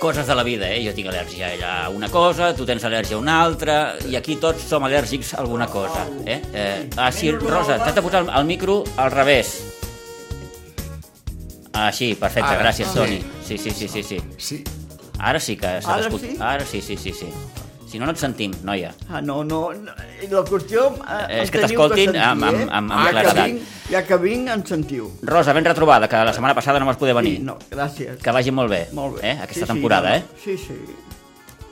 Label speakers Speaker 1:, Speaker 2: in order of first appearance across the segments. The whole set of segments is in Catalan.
Speaker 1: coses de la vida, eh? Jo tinc al·lèrgia a una cosa, tu tens al·lèrgia a una altra, i aquí tots som al·lèrgics a alguna cosa, eh? eh ah, sí, Rosa, t'has de posar el micro al revés. Ah, sí, perfecte,
Speaker 2: Ara,
Speaker 1: gràcies,
Speaker 2: sí.
Speaker 1: Toni. Sí, sí, sí, sí, sí.
Speaker 2: Sí.
Speaker 1: Ara sí que s'ha
Speaker 3: Ara
Speaker 1: d'escoltar.
Speaker 3: sí?
Speaker 1: Ara sí, sí, sí, sí. Si no, no et sentim, noia.
Speaker 3: Ah, no, no, no, la qüestió... Eh,
Speaker 1: És
Speaker 3: em
Speaker 1: que
Speaker 3: teniu
Speaker 1: t'escoltin
Speaker 3: sentir,
Speaker 1: amb- amb-
Speaker 3: eh?
Speaker 1: amb- amb
Speaker 3: Ah, que
Speaker 1: claredat.
Speaker 3: vinc- Ja que vinc, em sentiu.
Speaker 1: Rosa, ben retrobada, que la setmana passada no vas poder venir.
Speaker 3: Sí, no, gràcies.
Speaker 1: Que vagi molt bé,
Speaker 3: Molt bé.
Speaker 1: eh? aquesta temporada,
Speaker 3: sí,
Speaker 1: eh?
Speaker 3: no, Sí, sí.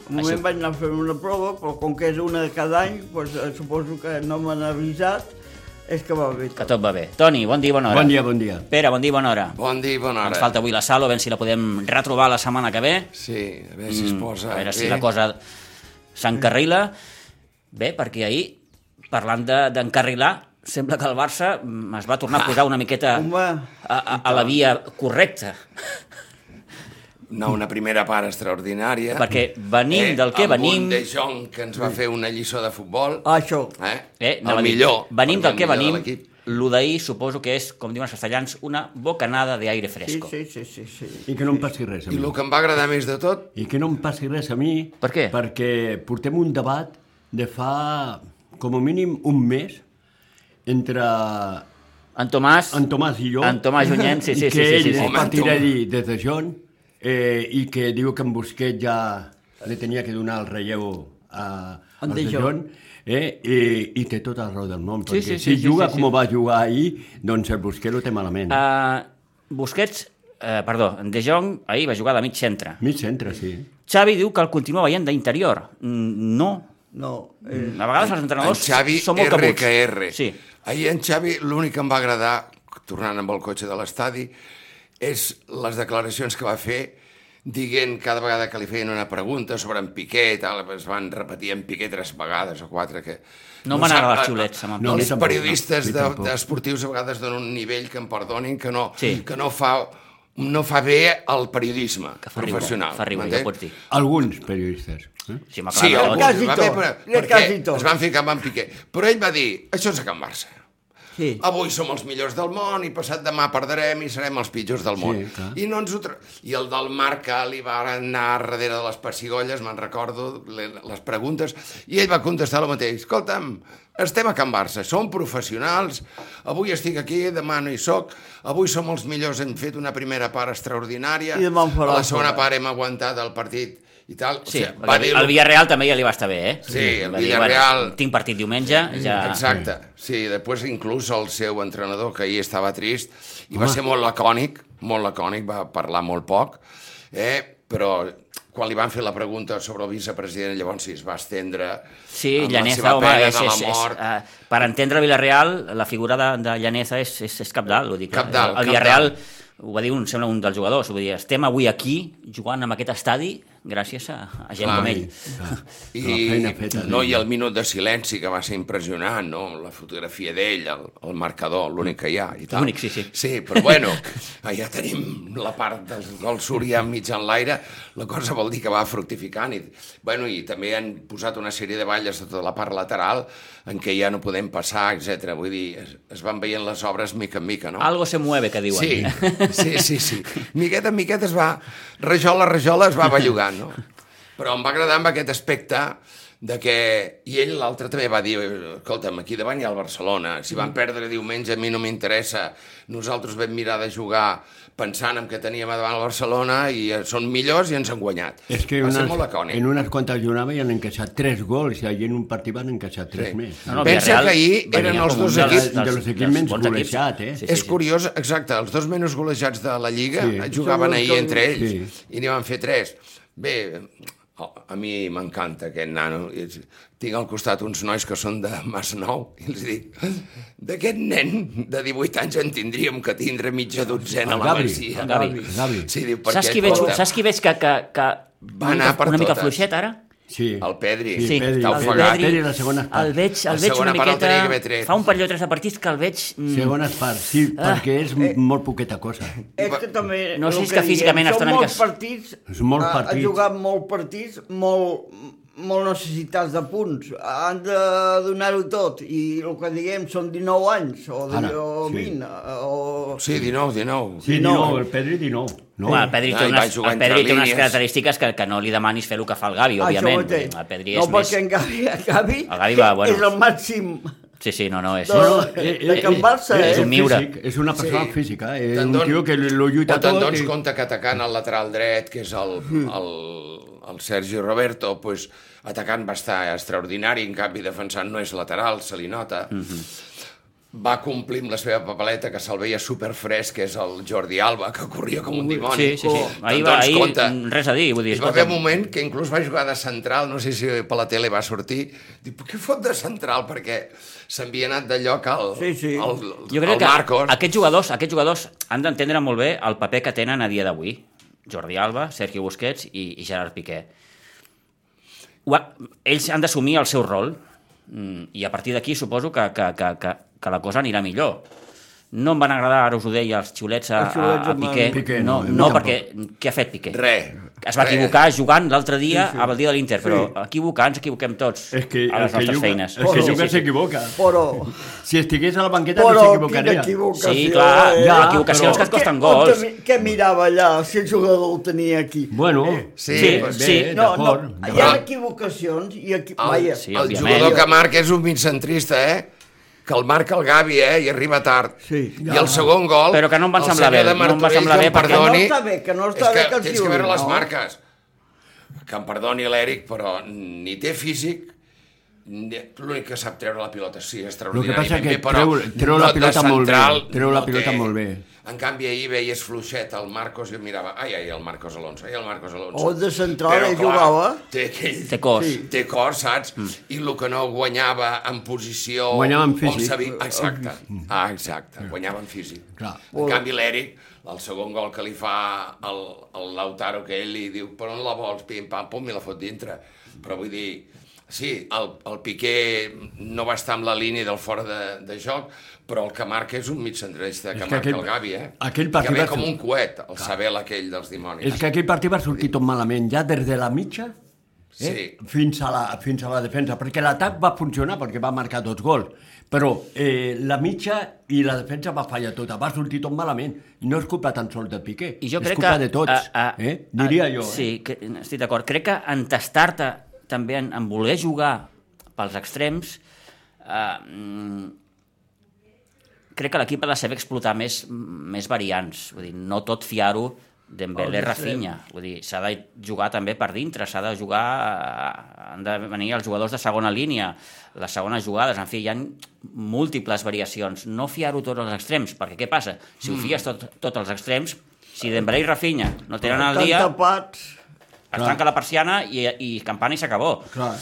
Speaker 3: Un moment
Speaker 1: Així-
Speaker 3: vaig anar fent una prova, però com que és una de cada any, doncs, eh, suposo que no m'han avisat, és que va bé.
Speaker 1: Que tot va bé. Toni, bon dia i bona hora.
Speaker 4: Bon dia, bon dia.
Speaker 1: Pere, bon dia i bona hora.
Speaker 2: Bon dia i bona hora.
Speaker 1: Ens falta avui la Salo, a veure si la podem retrobar la setmana que ve.
Speaker 2: Sí, a veure si es posa...
Speaker 1: Mm, a veure si
Speaker 2: bé.
Speaker 1: la cosa s'encarrila. Bé, perquè ahir, parlant de- d'encarrilar, de, sembla que el Barça mm, es va tornar a
Speaker 2: Ah,
Speaker 1: posar una miqueta
Speaker 3: Home.
Speaker 1: a, a, a la via correcta.
Speaker 2: Ah. No, una primera part extraordinària. Eh,
Speaker 1: Perquè venim del que
Speaker 2: amb
Speaker 1: venim- Mm. Oh.
Speaker 2: Amb un De Jong que ens va fer una lliçó de futbol.
Speaker 3: Ah, això.
Speaker 2: Eh?
Speaker 1: Eh,
Speaker 2: el
Speaker 1: anava a dir,
Speaker 2: millor.
Speaker 1: Venim
Speaker 2: per
Speaker 1: del
Speaker 2: mi,
Speaker 1: que
Speaker 2: el millor de
Speaker 1: venim.
Speaker 2: l'equip.
Speaker 1: Lo d'ahir suposo que és, com diuen els castellans, una bocanada d'aire
Speaker 3: Sí,
Speaker 1: fresco.
Speaker 3: sí, sí, sí, sí.
Speaker 4: I que no em passi res a
Speaker 2: I
Speaker 4: mi.
Speaker 2: el que em va agradar més de tot,
Speaker 4: I que no em passi res a mi...
Speaker 1: Per què?
Speaker 4: Perquè portem un debat de fa com a mínim un mes entre
Speaker 1: En Tomàs...
Speaker 4: en Tomàs i jo.
Speaker 1: En Tomàs Junyent, sí, sí,
Speaker 4: I que
Speaker 1: sí, sí, sí,
Speaker 4: ell
Speaker 1: sí.
Speaker 4: és
Speaker 2: Home, en
Speaker 4: partidari de De Jong eh, i que diu que en Busquets ja li tenia que donar el relleu a,
Speaker 3: En
Speaker 4: al
Speaker 3: De
Speaker 4: De
Speaker 3: Jong.
Speaker 4: Jong. Eh, i, i té tot el raó del món,
Speaker 1: Sí,
Speaker 4: perquè
Speaker 1: sí, sí,
Speaker 4: si
Speaker 1: sí,
Speaker 4: juga
Speaker 1: sí, sí.
Speaker 4: com va jugar ahir, doncs el Busquets ho té malament.
Speaker 1: Uh, Busquets, uh, perdó, en De Jong ahir va jugar de mig centre.
Speaker 4: Mig centre, sí.
Speaker 1: Xavi diu que el continua veient d'interior. Mm, No.
Speaker 3: No, eh,
Speaker 1: A vegades els
Speaker 2: en
Speaker 1: entrenadors
Speaker 2: Xavi,
Speaker 1: són molt
Speaker 2: R
Speaker 1: cabuts.
Speaker 2: que R.
Speaker 1: Sí.
Speaker 2: Ahir en Xavi l'únic que em va agradar, tornant amb el cotxe de l'estadi, és les declaracions que va fer dient cada vegada que li feien una pregunta sobre en Piqué, i tal, es van repetir en Piqué tres vegades o quatre. Que...
Speaker 1: No m'han
Speaker 2: sap-
Speaker 1: agradat els xiulets, amb en
Speaker 4: No, a mi
Speaker 2: els
Speaker 4: tampoc,
Speaker 2: periodistes
Speaker 4: no, a mi
Speaker 2: de-
Speaker 4: tampoc.
Speaker 2: d'esportius a vegades donen un nivell que em perdonin que no,
Speaker 1: Sí.
Speaker 2: que no fa no fa bé el periodisme
Speaker 1: Que fa riure,
Speaker 2: professional.
Speaker 1: fa riure,
Speaker 2: m'entens?
Speaker 1: ja ho pots dir.
Speaker 4: Alguns periodistes. Eh?
Speaker 1: Sí, m'ha
Speaker 2: Sí,
Speaker 1: acabat.
Speaker 2: el
Speaker 3: Quasi
Speaker 2: va
Speaker 3: tot,
Speaker 2: fer, però,
Speaker 3: era
Speaker 2: perquè
Speaker 3: quasi tot.
Speaker 2: es van ficar amb en Piqué. Però ell va dir, això és a Can Barça.
Speaker 3: sí.
Speaker 2: Avui som els millors del món i passat demà perdrem i serem els pitjors del món.
Speaker 4: clar.
Speaker 2: I no ens ho tra... I el del Marca li va anar darrere de les pessigolles, me'n recordo, le- les preguntes, i ell va contestar el mateix. Escolta'm, estem a Can Barça, som professionals, avui estic aquí, demà no hi soc, avui som els millors, hem fet una primera part extraordinària,
Speaker 3: I demà en farà
Speaker 2: a la
Speaker 3: la
Speaker 2: segona
Speaker 3: segona.
Speaker 2: part hem aguantat el partit i tal.
Speaker 1: Sí,
Speaker 2: o sigui,
Speaker 1: el,
Speaker 2: dir-ho
Speaker 1: el Villarreal també ja li va estar bé, eh?
Speaker 2: Sí, el
Speaker 1: Va dir,
Speaker 2: Villarreal-
Speaker 1: Bueno, tinc partit diumenge, ja...
Speaker 2: Exacte, sí, després inclús el seu entrenador, que ahir estava trist, i va ser molt lacònic, molt lacònic, va parlar molt poc, eh? però quan li van fer la pregunta sobre el vicepresident, llavors sí, es va estendre
Speaker 1: Sí,
Speaker 2: amb la
Speaker 1: Llaneza,
Speaker 2: seva
Speaker 1: home,
Speaker 2: pena
Speaker 1: és,
Speaker 2: de la
Speaker 1: és, és,
Speaker 2: mort.
Speaker 1: uh, per entendre Villarreal, la figura de, de Llaneza és, és, és capdalt, ho dic. clar.
Speaker 2: Cabdal,
Speaker 1: el Villarreal,
Speaker 2: cabdal.
Speaker 1: ho va dir un, sembla un dels jugadors, ho va dir, estem avui aquí jugant en aquest estadi gràcies a, a gent
Speaker 2: Clar.
Speaker 1: com ell.
Speaker 2: I,
Speaker 4: La Ah. feina feta,
Speaker 2: no,
Speaker 4: diu.
Speaker 2: I el minut de silenci, que va ser impressionant, no? La fotografia d'ell, el, el marcador, l'únic que hi ha. I tal.
Speaker 1: L'únic, sí, sí.
Speaker 2: Sí, però bueno, ja tenim la part del, del sur ja mig en l'aire, la cosa vol dir que va fructificant. I, bueno, I també han posat una sèrie de valles de tota la part lateral en què ja no podem passar, etc. Vull dir, es, es van veient les obres mica en mica, no?
Speaker 1: Algo se mueve, que diuen.
Speaker 2: Sí, sí, sí, sí. Miqueta en miqueta es va... Rajola, rajola, es va bellugant, no? Però em va agradar amb aquest aspecte de que... I ell l'altre també va dir, escolta'm, aquí davant hi ha el Barcelona, si
Speaker 4: Mm.
Speaker 2: van perdre diumenge a mi no m'interessa, nosaltres vam mirar de jugar pensant en que teníem a davant el Barcelona i eh, són millors i ens han guanyat.
Speaker 4: És que
Speaker 2: va
Speaker 4: unes,
Speaker 2: ser molt lacònic.
Speaker 4: en unes quantes jornades ja han encaixat tres gols i ahir en un partit van encaixar tres sí. més.
Speaker 1: No, no,
Speaker 2: Pensa
Speaker 1: Villarreal
Speaker 2: que ahir
Speaker 1: venia
Speaker 2: eren els
Speaker 1: com un
Speaker 2: dos
Speaker 1: dels-
Speaker 2: equips-
Speaker 1: dels-
Speaker 4: de los equips
Speaker 1: dels
Speaker 4: menys
Speaker 1: bons equips.
Speaker 4: golejat, eh?
Speaker 1: Sí, sí,
Speaker 2: és
Speaker 1: sí.
Speaker 2: curiós, exacte, els dos menys golejats de la Lliga
Speaker 4: Sí.
Speaker 2: sí. jugaven
Speaker 3: Són els
Speaker 2: ahir
Speaker 3: que-
Speaker 2: entre ells
Speaker 4: Sí.
Speaker 2: i n'hi van fer tres. Bé, oh, a mi m'encanta aquest nano. És- Tinc al costat uns nois que són de Masnou i els dic, d'aquest nen de 18 anys en tindríem que tindre mitja dotzena a
Speaker 4: El
Speaker 2: la
Speaker 4: Gabri,
Speaker 2: Masia.
Speaker 1: el Gabri.
Speaker 4: El Gabri.
Speaker 2: Sí, diu, perquè,
Speaker 1: Saps qui, veig,
Speaker 2: escolta,
Speaker 1: saps qui veig que, que, que
Speaker 2: Va anar per
Speaker 1: una mica
Speaker 2: totes.
Speaker 1: fluixet ara?
Speaker 4: Sí.
Speaker 2: El Pedri.
Speaker 4: Sí,
Speaker 2: Sí,
Speaker 4: Pedri,
Speaker 2: està
Speaker 4: Pedri,
Speaker 2: ofegat.
Speaker 4: Pedri, Pedri, la segona
Speaker 1: el
Speaker 4: part.
Speaker 1: veig, el
Speaker 2: La
Speaker 1: veig
Speaker 2: segona
Speaker 1: una
Speaker 2: part el
Speaker 1: miqueta...
Speaker 2: tenia que haver tret.
Speaker 1: Fa un parell o tres de partits que el veig... mm,
Speaker 4: Segones parts, sí, ah, perquè és eh, molt poqueta cosa.
Speaker 3: És que també...
Speaker 1: No sé
Speaker 3: el
Speaker 1: si és que físicament
Speaker 3: diem,
Speaker 1: està una
Speaker 3: són
Speaker 1: mica-
Speaker 3: molts partits,
Speaker 4: És molt
Speaker 3: ha-
Speaker 4: partit.
Speaker 3: Ha jugat molt partits, molt, molt necessitats de punts, han de donar-ho tot, i el que diguem són 19 anys, o, de,
Speaker 4: Ara,
Speaker 3: o
Speaker 4: sí.
Speaker 3: 20, o...
Speaker 2: Sí, 19, 19.
Speaker 4: Sí,
Speaker 3: 19.
Speaker 4: 19, el Pedri 19. No?
Speaker 1: Home, el Pedri,
Speaker 2: Ja,
Speaker 1: té
Speaker 2: i va
Speaker 1: unes,
Speaker 2: jugar
Speaker 1: el Pedri
Speaker 2: entre
Speaker 1: té unes
Speaker 2: línies.
Speaker 1: característiques que, que no li demanis fer el que fa el Gavi,
Speaker 3: Ah, Això
Speaker 1: òbviament.
Speaker 3: ho entenc.
Speaker 1: El Pedri
Speaker 3: no,
Speaker 1: és més...
Speaker 3: perquè en Gavi, en Gavi,
Speaker 1: El Gavi va, bueno.
Speaker 3: és el màxim.
Speaker 1: Sí, sí, no, no, és...
Speaker 3: No, no.
Speaker 4: Eh, eh,
Speaker 3: de Can
Speaker 4: eh,
Speaker 3: Barça, eh?
Speaker 1: És un miura.
Speaker 4: Físic, és una persona
Speaker 2: Sí.
Speaker 4: sí. física, eh?
Speaker 2: Te'n
Speaker 4: un
Speaker 2: don-
Speaker 4: tio que lo lluita
Speaker 2: o te'n
Speaker 4: tot.
Speaker 2: dones
Speaker 4: i-
Speaker 2: compte que atacant el lateral dret, que és el, el, el Sergi Roberto, pues, atacant va estar extraordinari, en canvi defensant no és lateral, se li nota.
Speaker 4: Mhm.
Speaker 2: Va complir amb la seva papeleta, que se'l veia superfresc, que és el Jordi Alba, que corria com un dimoni.
Speaker 1: Sí, sí, sí.
Speaker 2: Te'n
Speaker 1: Ahir, va,
Speaker 2: dones
Speaker 1: ahir
Speaker 2: compte?
Speaker 1: mm, res a dir, vull dir...
Speaker 2: Hi va haver un
Speaker 1: escolta'm.
Speaker 2: moment que inclús va jugar de central, no sé si per la tele va sortir, dic, "Però què fot de central? Perquè s'havia anat de lloc al,
Speaker 3: Sí, sí.
Speaker 2: al,
Speaker 1: Jo crec
Speaker 2: al Marcos.
Speaker 1: que aquests jugadors, aquests jugadors han d'entendre molt bé el paper que tenen a dia d'avui. Jordi Alba, Sergio Busquets i, i Gerard Piqué. Ho ha, ells han d'assumir el seu rol mm, i a partir d'aquí suposo que, que, que, que, que la cosa anirà millor. No em van agradar, ara us ho deia, els xiulets a,
Speaker 3: Els xiulets
Speaker 1: a, a
Speaker 3: amb el
Speaker 1: Piqué.
Speaker 4: Piqué,
Speaker 1: no,
Speaker 4: no, a mi
Speaker 1: no,
Speaker 4: tampoc.
Speaker 1: perquè què ha fet Piqué?
Speaker 2: Res.
Speaker 1: Es va
Speaker 2: Res.
Speaker 1: equivocar jugant l'altre dia, sí, sí. el dia de l'Inter, però equivocar ens equivoquem tots
Speaker 4: És que
Speaker 1: a
Speaker 4: el
Speaker 1: les
Speaker 4: que
Speaker 1: nostres
Speaker 4: juga,
Speaker 1: feines.
Speaker 4: el que
Speaker 3: Sí,
Speaker 4: juga
Speaker 1: sí, sí.
Speaker 4: s'equivoca.
Speaker 3: Però,
Speaker 4: Si estigués a la banqueta
Speaker 3: però,
Speaker 4: no
Speaker 3: quina
Speaker 4: s'equivocaria.
Speaker 3: equivocació.
Speaker 1: Sí, clar,
Speaker 3: eh?
Speaker 1: ja,
Speaker 4: Ja,
Speaker 1: equivocacions
Speaker 4: però-
Speaker 1: que et costen
Speaker 3: Què-
Speaker 1: gols.
Speaker 3: on te- Què mirava allà, si el jugador ho tenia aquí?
Speaker 4: Bueno, eh,
Speaker 2: Sí,
Speaker 4: bé,
Speaker 1: sí.
Speaker 4: bé,
Speaker 3: No, no,
Speaker 4: d'acord,
Speaker 3: hi ha
Speaker 4: d'acord.
Speaker 3: equivocacions i aquí...
Speaker 2: El,
Speaker 3: Vaja,
Speaker 1: sí,
Speaker 2: el
Speaker 1: òbviament.
Speaker 2: jugador que marca és un mitjantrista, eh? Que el marca el Gavi, eh? I arriba tard.
Speaker 3: Sí.
Speaker 2: I el segon gol...
Speaker 1: Però que no em va
Speaker 2: el
Speaker 1: semblar
Speaker 2: senyor
Speaker 1: bé, no
Speaker 2: de
Speaker 1: em va
Speaker 2: Martorell,
Speaker 1: semblar
Speaker 2: que
Speaker 1: bé
Speaker 2: em
Speaker 1: perquè-
Speaker 2: perdoni,
Speaker 3: Que no està bé, que no està
Speaker 2: és
Speaker 3: bé que els
Speaker 2: tens que
Speaker 3: lliurin,
Speaker 2: veure les
Speaker 3: no?
Speaker 2: marques. Que em perdoni l'Eric, però ni té físic, ni- l'únic que sap treure la pilota, sí,
Speaker 4: El que
Speaker 2: extraordinari.
Speaker 4: passa és
Speaker 2: ben
Speaker 4: que
Speaker 2: bé, però
Speaker 4: treu- treu la
Speaker 2: no, de
Speaker 4: pilota molt bé,
Speaker 2: central
Speaker 4: treu la
Speaker 2: no
Speaker 4: pilota
Speaker 2: té.
Speaker 4: molt bé.
Speaker 2: En canvi, ahir veies fluixet el Marcos i el mirava, ai, ai, el Marcos Alonso, ai, el Marcos Alonso.
Speaker 3: O de central,
Speaker 2: Però,
Speaker 3: ell
Speaker 2: clar,
Speaker 3: jugava.
Speaker 2: Té aquell...
Speaker 1: Té cos.
Speaker 2: Sí. Té cor, saps? Mm. I el que no guanyava en posició...
Speaker 4: Guanyava en
Speaker 2: o
Speaker 4: físic.
Speaker 2: sabi- Exacte, ah, exacte, guanyava en físic.
Speaker 4: Mm. Clar.
Speaker 2: En canvi, l'Eric, el segon gol que li fa el, el Lautaro, que ell li diu, però on la vols, pim, pam, pum, i la fot dintre. Però vull dir, sí, el, el Piqué no va estar amb la línia del fora de, de joc, però el que marca és un mitjantrista, que,
Speaker 4: que
Speaker 2: que marca
Speaker 4: aquell-
Speaker 2: el Gavi, eh?
Speaker 4: aquell
Speaker 2: que
Speaker 4: partit
Speaker 2: ve
Speaker 4: va
Speaker 2: com
Speaker 4: ser-
Speaker 2: un coet, el Sabel aquell dels dimonis.
Speaker 4: És que aquell partit va sortir tot malament, ja des de la mitja eh,
Speaker 2: Sí.
Speaker 4: fins, a la, fins a la defensa, perquè l'atac va funcionar perquè va marcar dos gols, però eh, la mitja i la defensa va fallar tota, va sortir tot malament, i no és culpa tan sols de Piqué,
Speaker 1: I jo
Speaker 4: és
Speaker 1: crec
Speaker 4: culpa
Speaker 1: que,
Speaker 4: de tots,
Speaker 1: a- a-
Speaker 4: eh? diria
Speaker 1: a-
Speaker 4: jo.
Speaker 1: Sí, que, estic d'acord. Crec que entestar-te també en, en voler jugar pels extrems, eh, mm, crec que l'equip ha de saber explotar més, més variants. Vull dir, no tot fiar-ho Dembélé
Speaker 3: Pels
Speaker 1: Rafinha. Vull dir, s'ha de jugar també per dintre, s'ha de jugar... eh, Han de venir els jugadors de segona línia, les segones jugades, en fi, hi ha múltiples variacions. No fiar-ho tot als extrems, perquè què passa? Si
Speaker 4: Mm.
Speaker 1: ho fies tot, tot als extrems, si Dembélé i Rafinha no tenen el
Speaker 3: Tan
Speaker 1: dia,
Speaker 3: tapats...
Speaker 1: es tanca la persiana i, i campana i s'acabó.
Speaker 4: Eh? Clar.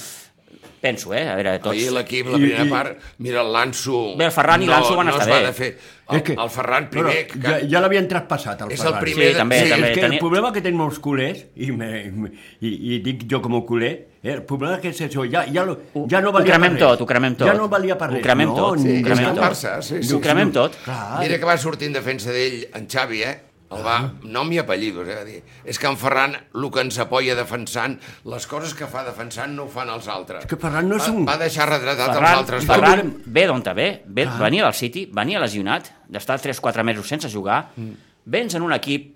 Speaker 1: Penso, eh? A veure,
Speaker 4: Doncs-
Speaker 2: Ahir
Speaker 1: tots...
Speaker 2: l'equip, la primera I, part, mira, el Lanzo...
Speaker 1: Bé, el Ferran i l'Anso van
Speaker 2: no
Speaker 1: estar
Speaker 2: es va
Speaker 1: bé.
Speaker 2: de fer. El,
Speaker 4: És que-
Speaker 2: el Ferran primer...
Speaker 4: Però
Speaker 2: que,
Speaker 4: Ja, ja l'havien traspassat, el
Speaker 2: És el
Speaker 4: Ferran.
Speaker 2: primer
Speaker 1: Sí, de- també,
Speaker 4: sí,
Speaker 1: també.
Speaker 4: És que
Speaker 1: Tenia-
Speaker 4: el problema que tenen molts culers, i, me, i me- i, i dic jo com a culer, eh, el problema que és això, ja, ja, lo,
Speaker 1: Ho-
Speaker 4: ja no
Speaker 1: ho
Speaker 4: valia
Speaker 1: cremem
Speaker 4: per res.
Speaker 1: tot, ho cremem tot.
Speaker 4: Ja no valia per
Speaker 1: Ho
Speaker 4: res.
Speaker 1: cremem
Speaker 4: no,
Speaker 1: tot,
Speaker 4: ni-
Speaker 1: ho cremem
Speaker 4: no,
Speaker 1: tot.
Speaker 2: Barça, sí, sí,
Speaker 1: Ho cremem tot.
Speaker 4: Clar, Ah.
Speaker 2: Mira que va sortir en defensa d'ell en Xavi, eh? El va, nom i apellidos, eh? va dir. És que en Ferran, el que ens apoya defensant, les coses que fa defensant no ho fan els altres.
Speaker 4: És que Ferran no és
Speaker 2: va,
Speaker 4: un-
Speaker 2: Va deixar retratat els
Speaker 1: Ferran,
Speaker 2: altres.
Speaker 1: Ferran
Speaker 2: dos.
Speaker 1: ve d'on te ve, ve
Speaker 2: Ah.
Speaker 1: venia del City, venia lesionat, d'estar 3-4 mesos sense jugar,
Speaker 2: Mm.
Speaker 1: vens en un equip,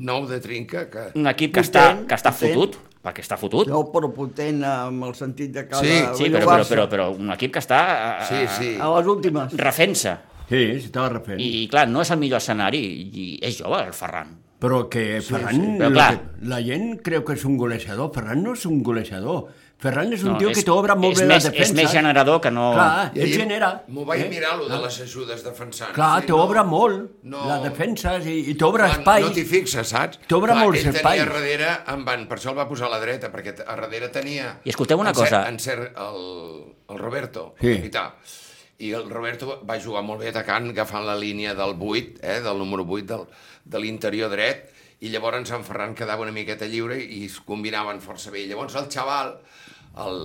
Speaker 2: Nou de trinca, que...
Speaker 1: un equip que està,
Speaker 3: Potent,
Speaker 1: que està
Speaker 3: potent.
Speaker 1: fotut, perquè està fotut,
Speaker 3: No, però potent amb el sentit de cada...
Speaker 2: Sí,
Speaker 1: sí,
Speaker 3: el
Speaker 1: però, però,
Speaker 3: Barça.
Speaker 1: però, però un equip que està eh,
Speaker 2: Sí, sí.
Speaker 4: Ah,
Speaker 3: A les últimes.
Speaker 1: refent-se.
Speaker 4: Sí, s'estava refent.
Speaker 1: I, I, clar, no és el millor escenari, i és jove el Ferran.
Speaker 4: Però que Ferran...
Speaker 1: sí. Però
Speaker 4: lo
Speaker 1: clar.
Speaker 4: que- la gent creu que és un golejador. Ferran no és un golejador. Ferran és un
Speaker 1: No,
Speaker 4: tio
Speaker 1: és-
Speaker 4: que t'obre molt
Speaker 1: és
Speaker 4: bé la
Speaker 1: més- és
Speaker 4: defensa. eh?
Speaker 1: més generador que no-
Speaker 4: Clar,
Speaker 2: I
Speaker 4: ell
Speaker 2: ahir
Speaker 4: genera. eh? Ah.
Speaker 2: M'ho vaig mirar, lo de les ajudes defensant.
Speaker 4: Clar,
Speaker 2: Sí, no?
Speaker 4: t'obre molt
Speaker 2: no.
Speaker 4: la defensa i, i t'obre
Speaker 2: Quan
Speaker 4: espai.
Speaker 2: No t'hi fixes, saps?
Speaker 4: T'obre
Speaker 2: Clar,
Speaker 4: molts
Speaker 2: ell tenia
Speaker 4: espais.
Speaker 2: a darrere, en van, per això el va posar a la dreta, perquè a darrere tenia...
Speaker 1: I escolteu una
Speaker 2: en Ser-
Speaker 1: cosa.
Speaker 2: En ser, el, el Roberto,
Speaker 4: Sí.
Speaker 2: i tal. I el Roberto va jugar molt bé atacant, agafant la línia del 8, eh, del número 8 del, de l'interior dret, i llavors en Sant Ferran quedava una miqueta lliure i es combinaven força bé. I llavors el xaval, el,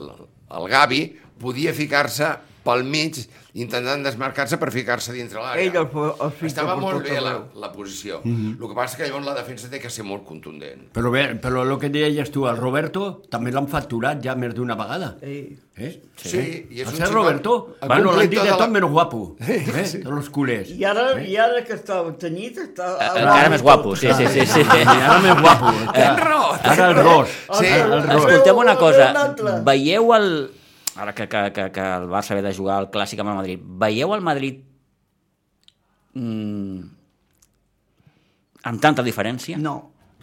Speaker 2: el Gavi podia ficar-se pel mig intentant desmarcar-se per ficar-se dintre l'àrea.
Speaker 3: Ell el fo- el Mhm. fica
Speaker 2: Estava
Speaker 3: per
Speaker 2: molt
Speaker 3: tot
Speaker 2: bé la,
Speaker 3: arreu.
Speaker 2: la posició. Mm -hmm. El que passa és que llavors la defensa té que ser molt contundent.
Speaker 4: Però bé, però el que deies tu, el Roberto també l'han facturat ja més d'una vegada.
Speaker 3: Sí.
Speaker 4: Eh?
Speaker 2: Sí, sí i és
Speaker 4: El
Speaker 2: un
Speaker 4: ser
Speaker 2: xicot-
Speaker 4: Roberto,
Speaker 2: ha
Speaker 4: bueno, l'han
Speaker 2: complit
Speaker 4: dit
Speaker 2: tota
Speaker 4: de
Speaker 2: la-
Speaker 4: tot menys guapo, eh? de los culers. Eh?
Speaker 3: I ara, I ara que està tenyit, està...
Speaker 1: Eh, Encara més guapo, sí, sí, sí. sí.
Speaker 4: I ara més guapo.
Speaker 2: Tens raó, tens
Speaker 4: Ara el
Speaker 2: raó.
Speaker 4: gros.
Speaker 2: Sí,
Speaker 3: Ara el gros.
Speaker 1: Escolteu una
Speaker 3: Veu un
Speaker 1: cosa,
Speaker 3: altre.
Speaker 1: veieu el... Ara que, que, que, que el Barça ve de jugar al Clàssic amb el Madrid, veieu el Madrid mm, amb tanta diferència?
Speaker 3: No.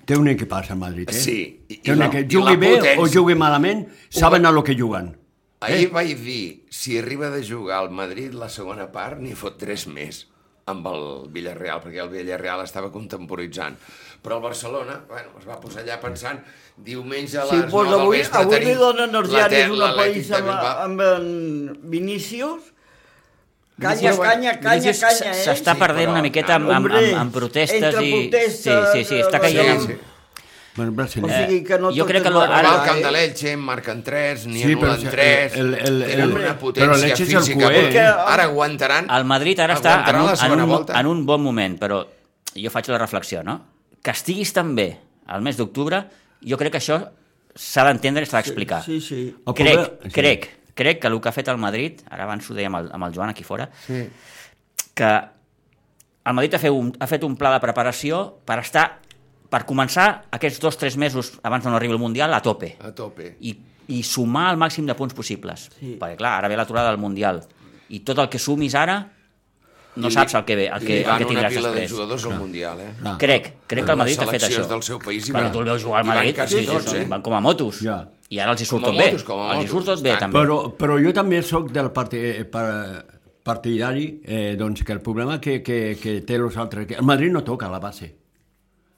Speaker 4: Té un equipàs a Madrid, eh?
Speaker 2: Sí, i- i
Speaker 4: Té un
Speaker 2: la-
Speaker 4: equip.
Speaker 2: i
Speaker 4: Jugui
Speaker 2: la
Speaker 4: bé o
Speaker 2: potència.
Speaker 4: jugui malament, saben a lo que juguen.
Speaker 3: Eh.
Speaker 2: Ahir vaig dir, si arriba de jugar al Madrid la segona part, n'hi fot tres més amb el Villarreal, perquè el Villarreal estava contemporitzant. Però el Barcelona, bueno, es va posar allà pensant diumenge a
Speaker 3: Sí,
Speaker 2: les
Speaker 3: pues
Speaker 2: 9 del
Speaker 3: avui,
Speaker 2: vespre
Speaker 3: avui li
Speaker 2: tenim
Speaker 3: donen els
Speaker 2: la
Speaker 3: diaris
Speaker 2: Ter-
Speaker 3: una
Speaker 2: l'Atlètic
Speaker 3: païssa
Speaker 2: de
Speaker 3: amb,
Speaker 2: Bilbao.
Speaker 3: amb en Vinícius. Canya,
Speaker 2: Vinícius,
Speaker 3: canya, canya,
Speaker 1: Vinicius
Speaker 3: canya, eh?
Speaker 1: S'està
Speaker 2: Sí,
Speaker 1: perdent
Speaker 2: però,
Speaker 1: una miqueta amb, amb,
Speaker 3: Hombre,
Speaker 1: amb, amb protestes
Speaker 3: entre
Speaker 1: i...
Speaker 3: protestes,
Speaker 1: sí, sí, sí, està
Speaker 3: eh,
Speaker 1: caient.
Speaker 2: Sí,
Speaker 1: Sí,
Speaker 2: sí.
Speaker 4: Bueno,
Speaker 3: O
Speaker 4: brasileño.
Speaker 3: sigui eh. que no
Speaker 1: jo
Speaker 3: tot
Speaker 1: crec
Speaker 3: és
Speaker 1: que lo-
Speaker 3: una
Speaker 2: Ara,
Speaker 1: Ara,
Speaker 2: va al camp
Speaker 3: eh?
Speaker 2: de l'Elche, marquen 3, n'hi
Speaker 4: Sí,
Speaker 2: sí,
Speaker 4: però
Speaker 2: anulen
Speaker 4: si-
Speaker 2: 3,
Speaker 4: el- el-
Speaker 2: tenen
Speaker 4: el-
Speaker 2: una
Speaker 4: però
Speaker 2: potència
Speaker 4: l'Elche és el eh?
Speaker 2: física.
Speaker 4: cuer.
Speaker 2: brutal.
Speaker 3: Que-
Speaker 2: Ara aguantaran.
Speaker 1: El Madrid ara està en
Speaker 2: aguantaran
Speaker 1: un,
Speaker 2: la
Speaker 1: en,
Speaker 2: segona
Speaker 1: un,
Speaker 2: volta.
Speaker 1: en un bon moment, però jo faig la reflexió, no? Que estiguis tan bé al mes d'octubre, jo crec que això s'ha d'entendre i s'ha d'explicar.
Speaker 3: Sí, sí.
Speaker 4: El
Speaker 1: Crec,
Speaker 4: problema- sí.
Speaker 1: crec, crec que el que ha fet el Madrid, ara abans ho deia amb el, amb el Joan aquí fora, sí. que el Madrid ha fet, un, ha fet un pla de preparació per estar per començar aquests dos o tres mesos abans no arribi el Mundial a tope
Speaker 2: A tope.
Speaker 1: i, i sumar el màxim de punts possibles.
Speaker 3: Sí.
Speaker 1: Sí. Perquè, clar, ara ve l'aturada del Mundial i tot el que sumis ara no
Speaker 2: I-
Speaker 1: saps el que ve, el que,
Speaker 2: i van
Speaker 1: el que tindràs
Speaker 2: una pila de
Speaker 1: després.
Speaker 2: jugadors al Mundial, eh?
Speaker 4: Clar.
Speaker 1: Crec, crec que el Madrid
Speaker 2: Les
Speaker 1: ha fet
Speaker 2: seleccions
Speaker 1: això.
Speaker 2: del seu país hi
Speaker 1: Perquè
Speaker 2: van-
Speaker 1: tu el veus jugar al
Speaker 2: hi van
Speaker 1: Madrid,
Speaker 2: quasi
Speaker 1: sí, sí,
Speaker 2: tots,
Speaker 1: sí,
Speaker 2: eh?
Speaker 1: van com a motos.
Speaker 4: Ja.
Speaker 1: I ara els hi surt
Speaker 2: Com a
Speaker 1: tot bé.
Speaker 2: motos, com a
Speaker 1: Els hi surt
Speaker 2: motos,
Speaker 1: tot bé,
Speaker 2: tant.
Speaker 1: també.
Speaker 4: Però, però jo també sóc del parti, eh, par- partidari eh, doncs que el problema que, que, que té els altres... Que el Madrid no toca la base.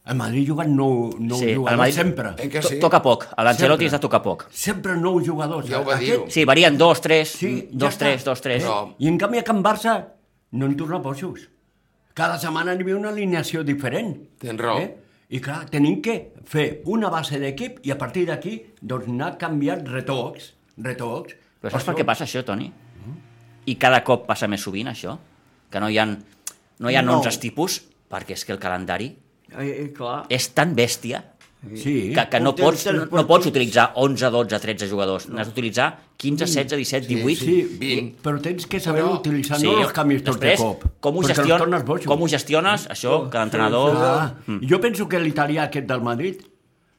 Speaker 4: El Madrid juguen nou, nou
Speaker 1: Sí, el
Speaker 4: jugadors
Speaker 1: Madrid-
Speaker 4: sempre.
Speaker 2: Eh, que
Speaker 1: To-
Speaker 2: sí?
Speaker 1: Toca poc, a l'Ancelotti
Speaker 4: Sempre.
Speaker 1: és de tocar poc.
Speaker 4: Sempre nou jugadors. eh?
Speaker 2: Ja ho va dir-ho.
Speaker 1: Sí, varien dos, tres,
Speaker 4: Sí, ja
Speaker 1: dos,
Speaker 4: està.
Speaker 1: tres, dos, tres.
Speaker 2: No.
Speaker 4: I en canvi a Can Barça no en torna boixos. Cada setmana n'hi havia una alineació diferent. Eh?
Speaker 2: Tens raó.
Speaker 4: I clar, tenim que fer una base d'equip i a partir d'aquí doncs anar canviant retocs, retocs.
Speaker 1: Però saps per què passa això, Toni? I cada cop passa més sovint, això? Que no hi ha, no hi ha
Speaker 3: No.
Speaker 1: 11 tipus, perquè és que el calendari
Speaker 3: Eh, eh, clar.
Speaker 1: és tan bèstia
Speaker 4: Sí.
Speaker 1: que, que no,
Speaker 3: Portem
Speaker 1: pots,
Speaker 3: tres
Speaker 1: no, no
Speaker 3: partits.
Speaker 1: pots utilitzar 11, 12, 13 jugadors. N'has d'utilitzar 15, 16, 17, 18...
Speaker 4: Sí,
Speaker 2: Vint.
Speaker 4: però tens que saber
Speaker 2: Però-
Speaker 4: utilitzar no els canvis tot de
Speaker 1: després,
Speaker 4: cop.
Speaker 1: Com ho,
Speaker 4: perquè els
Speaker 1: gestion,
Speaker 4: tornes boixos.
Speaker 1: com ho Mm. gestiones, això, que l'entrenador...
Speaker 4: Ah, jo penso que l'italià aquest del Madrid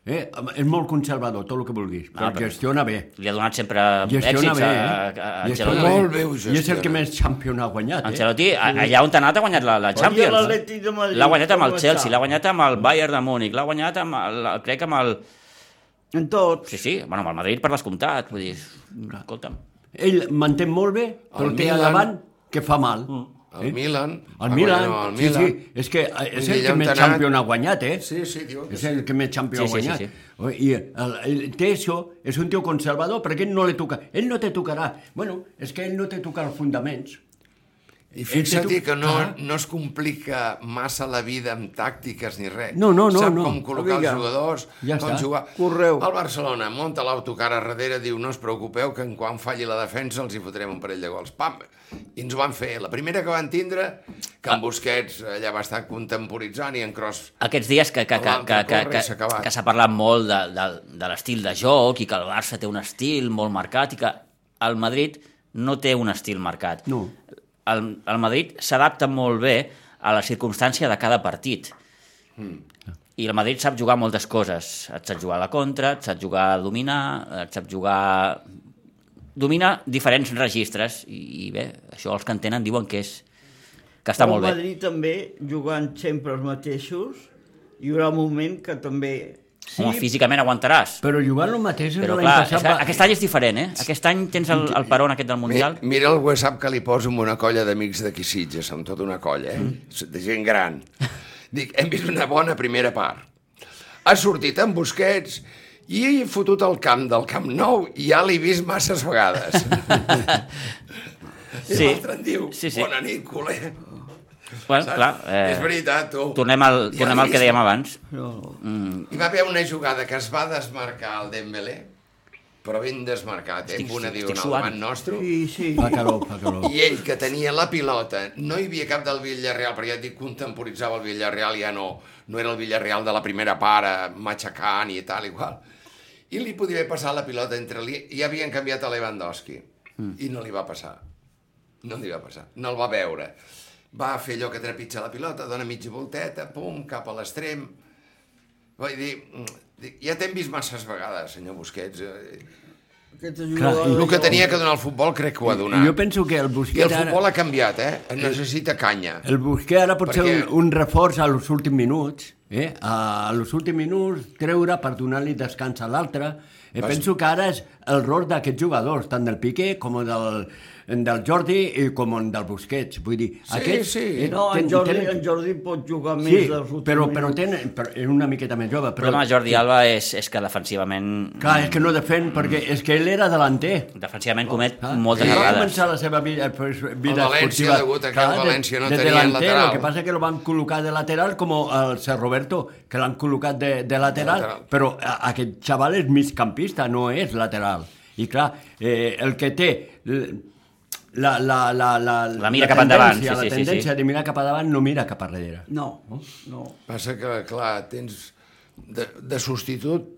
Speaker 4: eh, és molt conservador, tot el que vulguis, però,
Speaker 1: Ah, però-
Speaker 4: gestiona bé.
Speaker 1: Li ha donat sempre
Speaker 4: Gestiona
Speaker 1: èxits
Speaker 4: bé,
Speaker 1: a,
Speaker 4: eh?
Speaker 1: a, a
Speaker 4: Gestiona
Speaker 1: Ancelotti.
Speaker 2: Molt bé ho
Speaker 4: I és el
Speaker 2: gestiona.
Speaker 4: que més Champions ha guanyat, eh?
Speaker 1: Ancelotti, a- allà on ha anat ha guanyat la, la Champions. eh?
Speaker 3: l'Atlètic de Madrid,
Speaker 1: L'ha guanyat amb el
Speaker 3: com està?
Speaker 1: Chelsea, l'ha guanyat amb el Bayern de Múnich, l'ha guanyat amb el, crec que amb el...
Speaker 3: En tots.
Speaker 1: Sí, sí, bueno, amb el Madrid per descomptat, vull dir, escolta'm.
Speaker 4: Ell manté molt bé, però
Speaker 2: El
Speaker 4: té a
Speaker 2: Milan.
Speaker 4: davant que fa mal.
Speaker 1: Mm.
Speaker 2: El Milan.
Speaker 4: El
Speaker 2: va
Speaker 4: Milan,
Speaker 2: guanyar el
Speaker 4: sí,
Speaker 2: Milan.
Speaker 4: sí, és que eh, és el
Speaker 2: Guillem
Speaker 4: que més
Speaker 2: Tanat.
Speaker 4: Champions ha guanyat, eh?
Speaker 2: Sí, sí, diu.
Speaker 4: És el que més Champions
Speaker 1: Sí, sí,
Speaker 4: ha
Speaker 1: sí,
Speaker 4: guanyat.
Speaker 1: sí.
Speaker 4: O- I el, el, té això, és un tio conservador, perquè ell no li toca. Ell no te tocarà. Bueno, és que ell no te toca els fundaments.
Speaker 2: I fixa't
Speaker 4: Ell té
Speaker 2: que
Speaker 4: tu-
Speaker 2: no,
Speaker 4: Clar.
Speaker 2: no es complica massa la vida amb tàctiques ni res.
Speaker 4: No, no, no,
Speaker 2: Sap
Speaker 4: no.
Speaker 2: com col·locar
Speaker 3: Vinga.
Speaker 2: els jugadors,
Speaker 4: Ja
Speaker 2: com
Speaker 4: està.
Speaker 2: jugar.
Speaker 3: Correu.
Speaker 2: El Barcelona munta l'autocar a darrere, diu, no us preocupeu, que en quan falli la defensa els hi fotrem un parell de gols. Pam! I ens ho van fer. La primera que van tindre, que
Speaker 4: Ah.
Speaker 2: en Busquets allà va estar contemporitzant i en Kroos
Speaker 1: Aquests dies que, que, que, que, que,
Speaker 2: Corre,
Speaker 1: que,
Speaker 2: s'ha acabat.
Speaker 1: que s'ha parlat molt de, de, de l'estil de joc i que el Barça té un estil molt marcat i que el Madrid no té un estil marcat.
Speaker 4: No.
Speaker 1: El, el Madrid s'adapta molt bé a la circumstància de cada partit.
Speaker 2: Hmm.
Speaker 1: I el Madrid sap jugar moltes coses. Et sap jugar a la contra, et sap jugar a dominar, et sap jugar... Domina diferents registres i, i bé, això els que entenen diuen que és que està molt
Speaker 3: el
Speaker 1: bé.
Speaker 3: Madrid també, jugant sempre els mateixos, hi haurà un moment que també...
Speaker 1: Sí. Home, físicament aguantaràs.
Speaker 4: Però jugant el mateix és
Speaker 1: Però
Speaker 4: l'any
Speaker 1: clar,
Speaker 4: passat.
Speaker 1: és, que
Speaker 4: va-
Speaker 1: aquest any és diferent, eh? Aquest any tens el, el peron aquest del
Speaker 2: Mi-
Speaker 1: Mundial.
Speaker 2: Mira el WhatsApp que li poso amb una colla d'amics d'aquí Sitges, amb tota una colla,
Speaker 1: Mm.
Speaker 2: eh? de gent gran. Dic, hem vist una bona primera part. Ha sortit amb Busquets i he fotut el camp del Camp Nou i ja l'he vist masses vegades. I
Speaker 1: Sí.
Speaker 2: l'altre em diu,
Speaker 1: Sí, sí.
Speaker 2: bona nit, culer.
Speaker 1: Bueno, clar,
Speaker 2: És
Speaker 1: eh,
Speaker 2: veritat, tu.
Speaker 1: tornem al,
Speaker 2: Ja
Speaker 1: tornem al
Speaker 2: l'he
Speaker 1: que
Speaker 2: vist.
Speaker 1: dèiem abans.
Speaker 3: No.
Speaker 2: Hi va haver una jugada que es va desmarcar al Dembélé però ben desmarcat, eh?
Speaker 1: Estic-
Speaker 2: amb una
Speaker 1: estic
Speaker 2: diagonal
Speaker 1: suant.
Speaker 2: davant nostre.
Speaker 3: Sí, sí.
Speaker 4: Fa calor, fa calor.
Speaker 2: I ell, que tenia la pilota, no hi havia cap del Villarreal, perquè ja et dic, contemporitzava el Villarreal, ja no, no era el Villarreal de la primera part, eh, matxacant i tal, igual. I li podia haver passat la pilota entre li... Ja havien canviat a Lewandowski, mm. i no li va passar. No li va passar, no el va veure. Va fer allò que trepitja la pilota, dona mitja volteta, pum, cap a l'extrem. Vaig dir, mm, dic, ja t'hem vist masses vegades, senyor Busquets. eh,
Speaker 3: Aquest
Speaker 4: Clar, i
Speaker 3: jugador...
Speaker 2: El que tenia que donar al futbol crec que ho ha donat.
Speaker 4: Jo penso que el
Speaker 2: I el
Speaker 4: Busquets ara...
Speaker 2: futbol ha canviat, eh? Necessita canya.
Speaker 4: El Busquets ara pot ser
Speaker 2: Perquè-
Speaker 4: un, un reforç als últims minuts, eh? a als últims minuts treure per donar-li descans a l'altre. Eh,
Speaker 2: Vas-
Speaker 4: penso que ara és el rol d'aquests jugadors, tant del Piqué com del, del Jordi i com del Busquets. Vull dir,
Speaker 2: Sí,
Speaker 4: eh,
Speaker 2: sí.
Speaker 3: No, en
Speaker 4: ten-
Speaker 3: Jordi,
Speaker 4: tenen-
Speaker 3: en Jordi pot jugar més
Speaker 4: Sí,
Speaker 3: dels últims
Speaker 4: però, però,
Speaker 3: minuts.
Speaker 4: tenen, però és una miqueta més jove.
Speaker 1: El
Speaker 4: Però,
Speaker 1: problema de Jordi Alba és, és que defensivament
Speaker 4: Clar, és que no defen, perquè és que ell era delanter.
Speaker 1: defensivament comet
Speaker 4: Clar,
Speaker 1: moltes
Speaker 4: sí. ah, Va
Speaker 1: vegades.
Speaker 4: començar la seva vida, pues, vida
Speaker 2: El València,
Speaker 4: esportiva.
Speaker 2: degut Ah? a que el
Speaker 4: de-
Speaker 2: València no
Speaker 4: de
Speaker 2: tenia
Speaker 4: delanter,
Speaker 2: lateral.
Speaker 4: El que passa que el van col·locar de lateral, com el Ser Roberto, que l'han col·locat de, de, lateral,
Speaker 2: De lateral.
Speaker 4: però a, aquest xaval és migcampista, no és lateral. I clar, eh, el que té l- la, la, la, la,
Speaker 1: La mira cap endavant, sí,
Speaker 4: tendència-
Speaker 1: sí, sí,
Speaker 4: la tendència
Speaker 1: sí.
Speaker 4: de mirar cap endavant no mira cap enrere. Oh.
Speaker 3: No, no.
Speaker 2: Passa que, clar, tens... De, de substitut,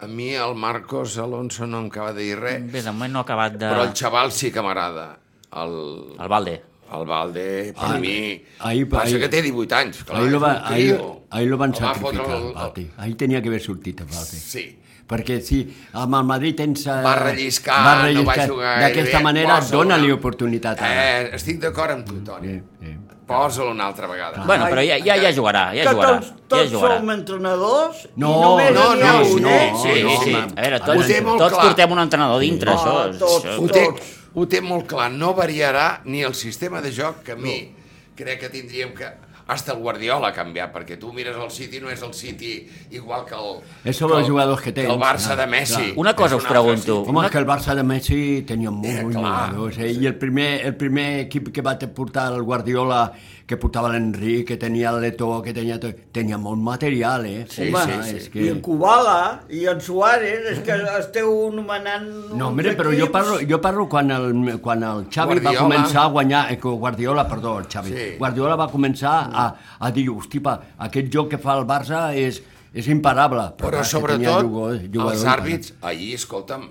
Speaker 2: a mi el Marcos Alonso no em acaba de dir res,
Speaker 4: Mm.
Speaker 1: Bé, de moment no ha acabat de...
Speaker 4: Ah.
Speaker 2: però el xaval sí que m'agrada. El,
Speaker 1: El Valde.
Speaker 2: el Valde, per
Speaker 4: Ah,
Speaker 2: mi...
Speaker 4: ahir-
Speaker 2: passa
Speaker 4: ahir-
Speaker 2: que té 18 anys, clar,
Speaker 4: ahir, lo va,
Speaker 2: és un
Speaker 4: ahir,
Speaker 2: tio.
Speaker 4: ahir lo van
Speaker 2: El va fotre
Speaker 4: sacrificar,
Speaker 2: el-
Speaker 4: el Balti. Ahir tenia que haver sortit el Balti.
Speaker 2: Sí.
Speaker 4: Perquè si amb el Madrid tens... eh,
Speaker 2: Va relliscar,
Speaker 4: va
Speaker 2: no va
Speaker 4: relliscar,
Speaker 2: jugar gaire
Speaker 4: D'aquesta
Speaker 2: bé,
Speaker 4: manera,
Speaker 2: posa-lo.
Speaker 4: dona-li oportunitat. ara.
Speaker 2: Eh, estic d'acord amb tu, Toni.
Speaker 4: Eh, eh.
Speaker 2: Posa'l una altra vegada.
Speaker 1: Bueno, però ja, ja, ja jugarà, ja
Speaker 3: que
Speaker 1: jugarà.
Speaker 3: tots,
Speaker 1: Ja
Speaker 3: tots
Speaker 1: jugarà.
Speaker 3: som entrenadors
Speaker 4: No,
Speaker 3: i només
Speaker 2: no,
Speaker 3: n'hi ha
Speaker 2: no,
Speaker 3: un,
Speaker 2: no,
Speaker 3: eh?
Speaker 2: sí,
Speaker 1: Sí, sí.
Speaker 4: home.
Speaker 1: A veure,
Speaker 2: Ho
Speaker 1: tots,
Speaker 2: té molt
Speaker 1: tots
Speaker 2: clar.
Speaker 1: portem un entrenador dintre,
Speaker 3: Ah,
Speaker 1: això.
Speaker 3: tots.
Speaker 1: això-
Speaker 2: ho té,
Speaker 3: Tots.
Speaker 2: ho té molt clar, no variarà ni el sistema de joc que a mi crec que tindríem que... Hasta el Guardiola ha canviat, perquè tu mires el City, no és el City igual que el...
Speaker 4: És
Speaker 2: que
Speaker 4: sobre
Speaker 2: el-
Speaker 4: els jugadors que tens,
Speaker 2: El Barça
Speaker 4: clar,
Speaker 2: de Messi.
Speaker 4: clar.
Speaker 1: Una cosa us
Speaker 2: És un altre
Speaker 1: pregunto.
Speaker 2: City.
Speaker 4: Home, és que el Barça de Messi tenia molts
Speaker 2: Eh, clar.
Speaker 4: jugadors, eh? I el primer, el primer equip que va te- portar el Guardiola, que portava l'Enric, que tenia el Leto, que tenia tot, tenia molt material, eh?
Speaker 2: Sí,
Speaker 4: Home,
Speaker 2: sí, sí.
Speaker 4: És
Speaker 3: I en
Speaker 4: que...
Speaker 3: Kubala i en Suárez, és que esteu nomenant... uns
Speaker 4: No, hombre, però jo
Speaker 3: equips.
Speaker 4: parlo, jo parlo quan el, quan el Xavi
Speaker 2: Guardiola.
Speaker 4: va començar a guanyar... Eh, que Guardiola, perdó, el Xavi.
Speaker 2: Sí.
Speaker 4: Guardiola va començar a, a dir, hosti, pa, aquest joc que fa el Barça és, és imparable.
Speaker 2: Però
Speaker 4: clar, que tenia
Speaker 2: sobretot,
Speaker 4: jugadors-
Speaker 2: els
Speaker 4: jugadors
Speaker 2: àrbits, ahir, escolta'm,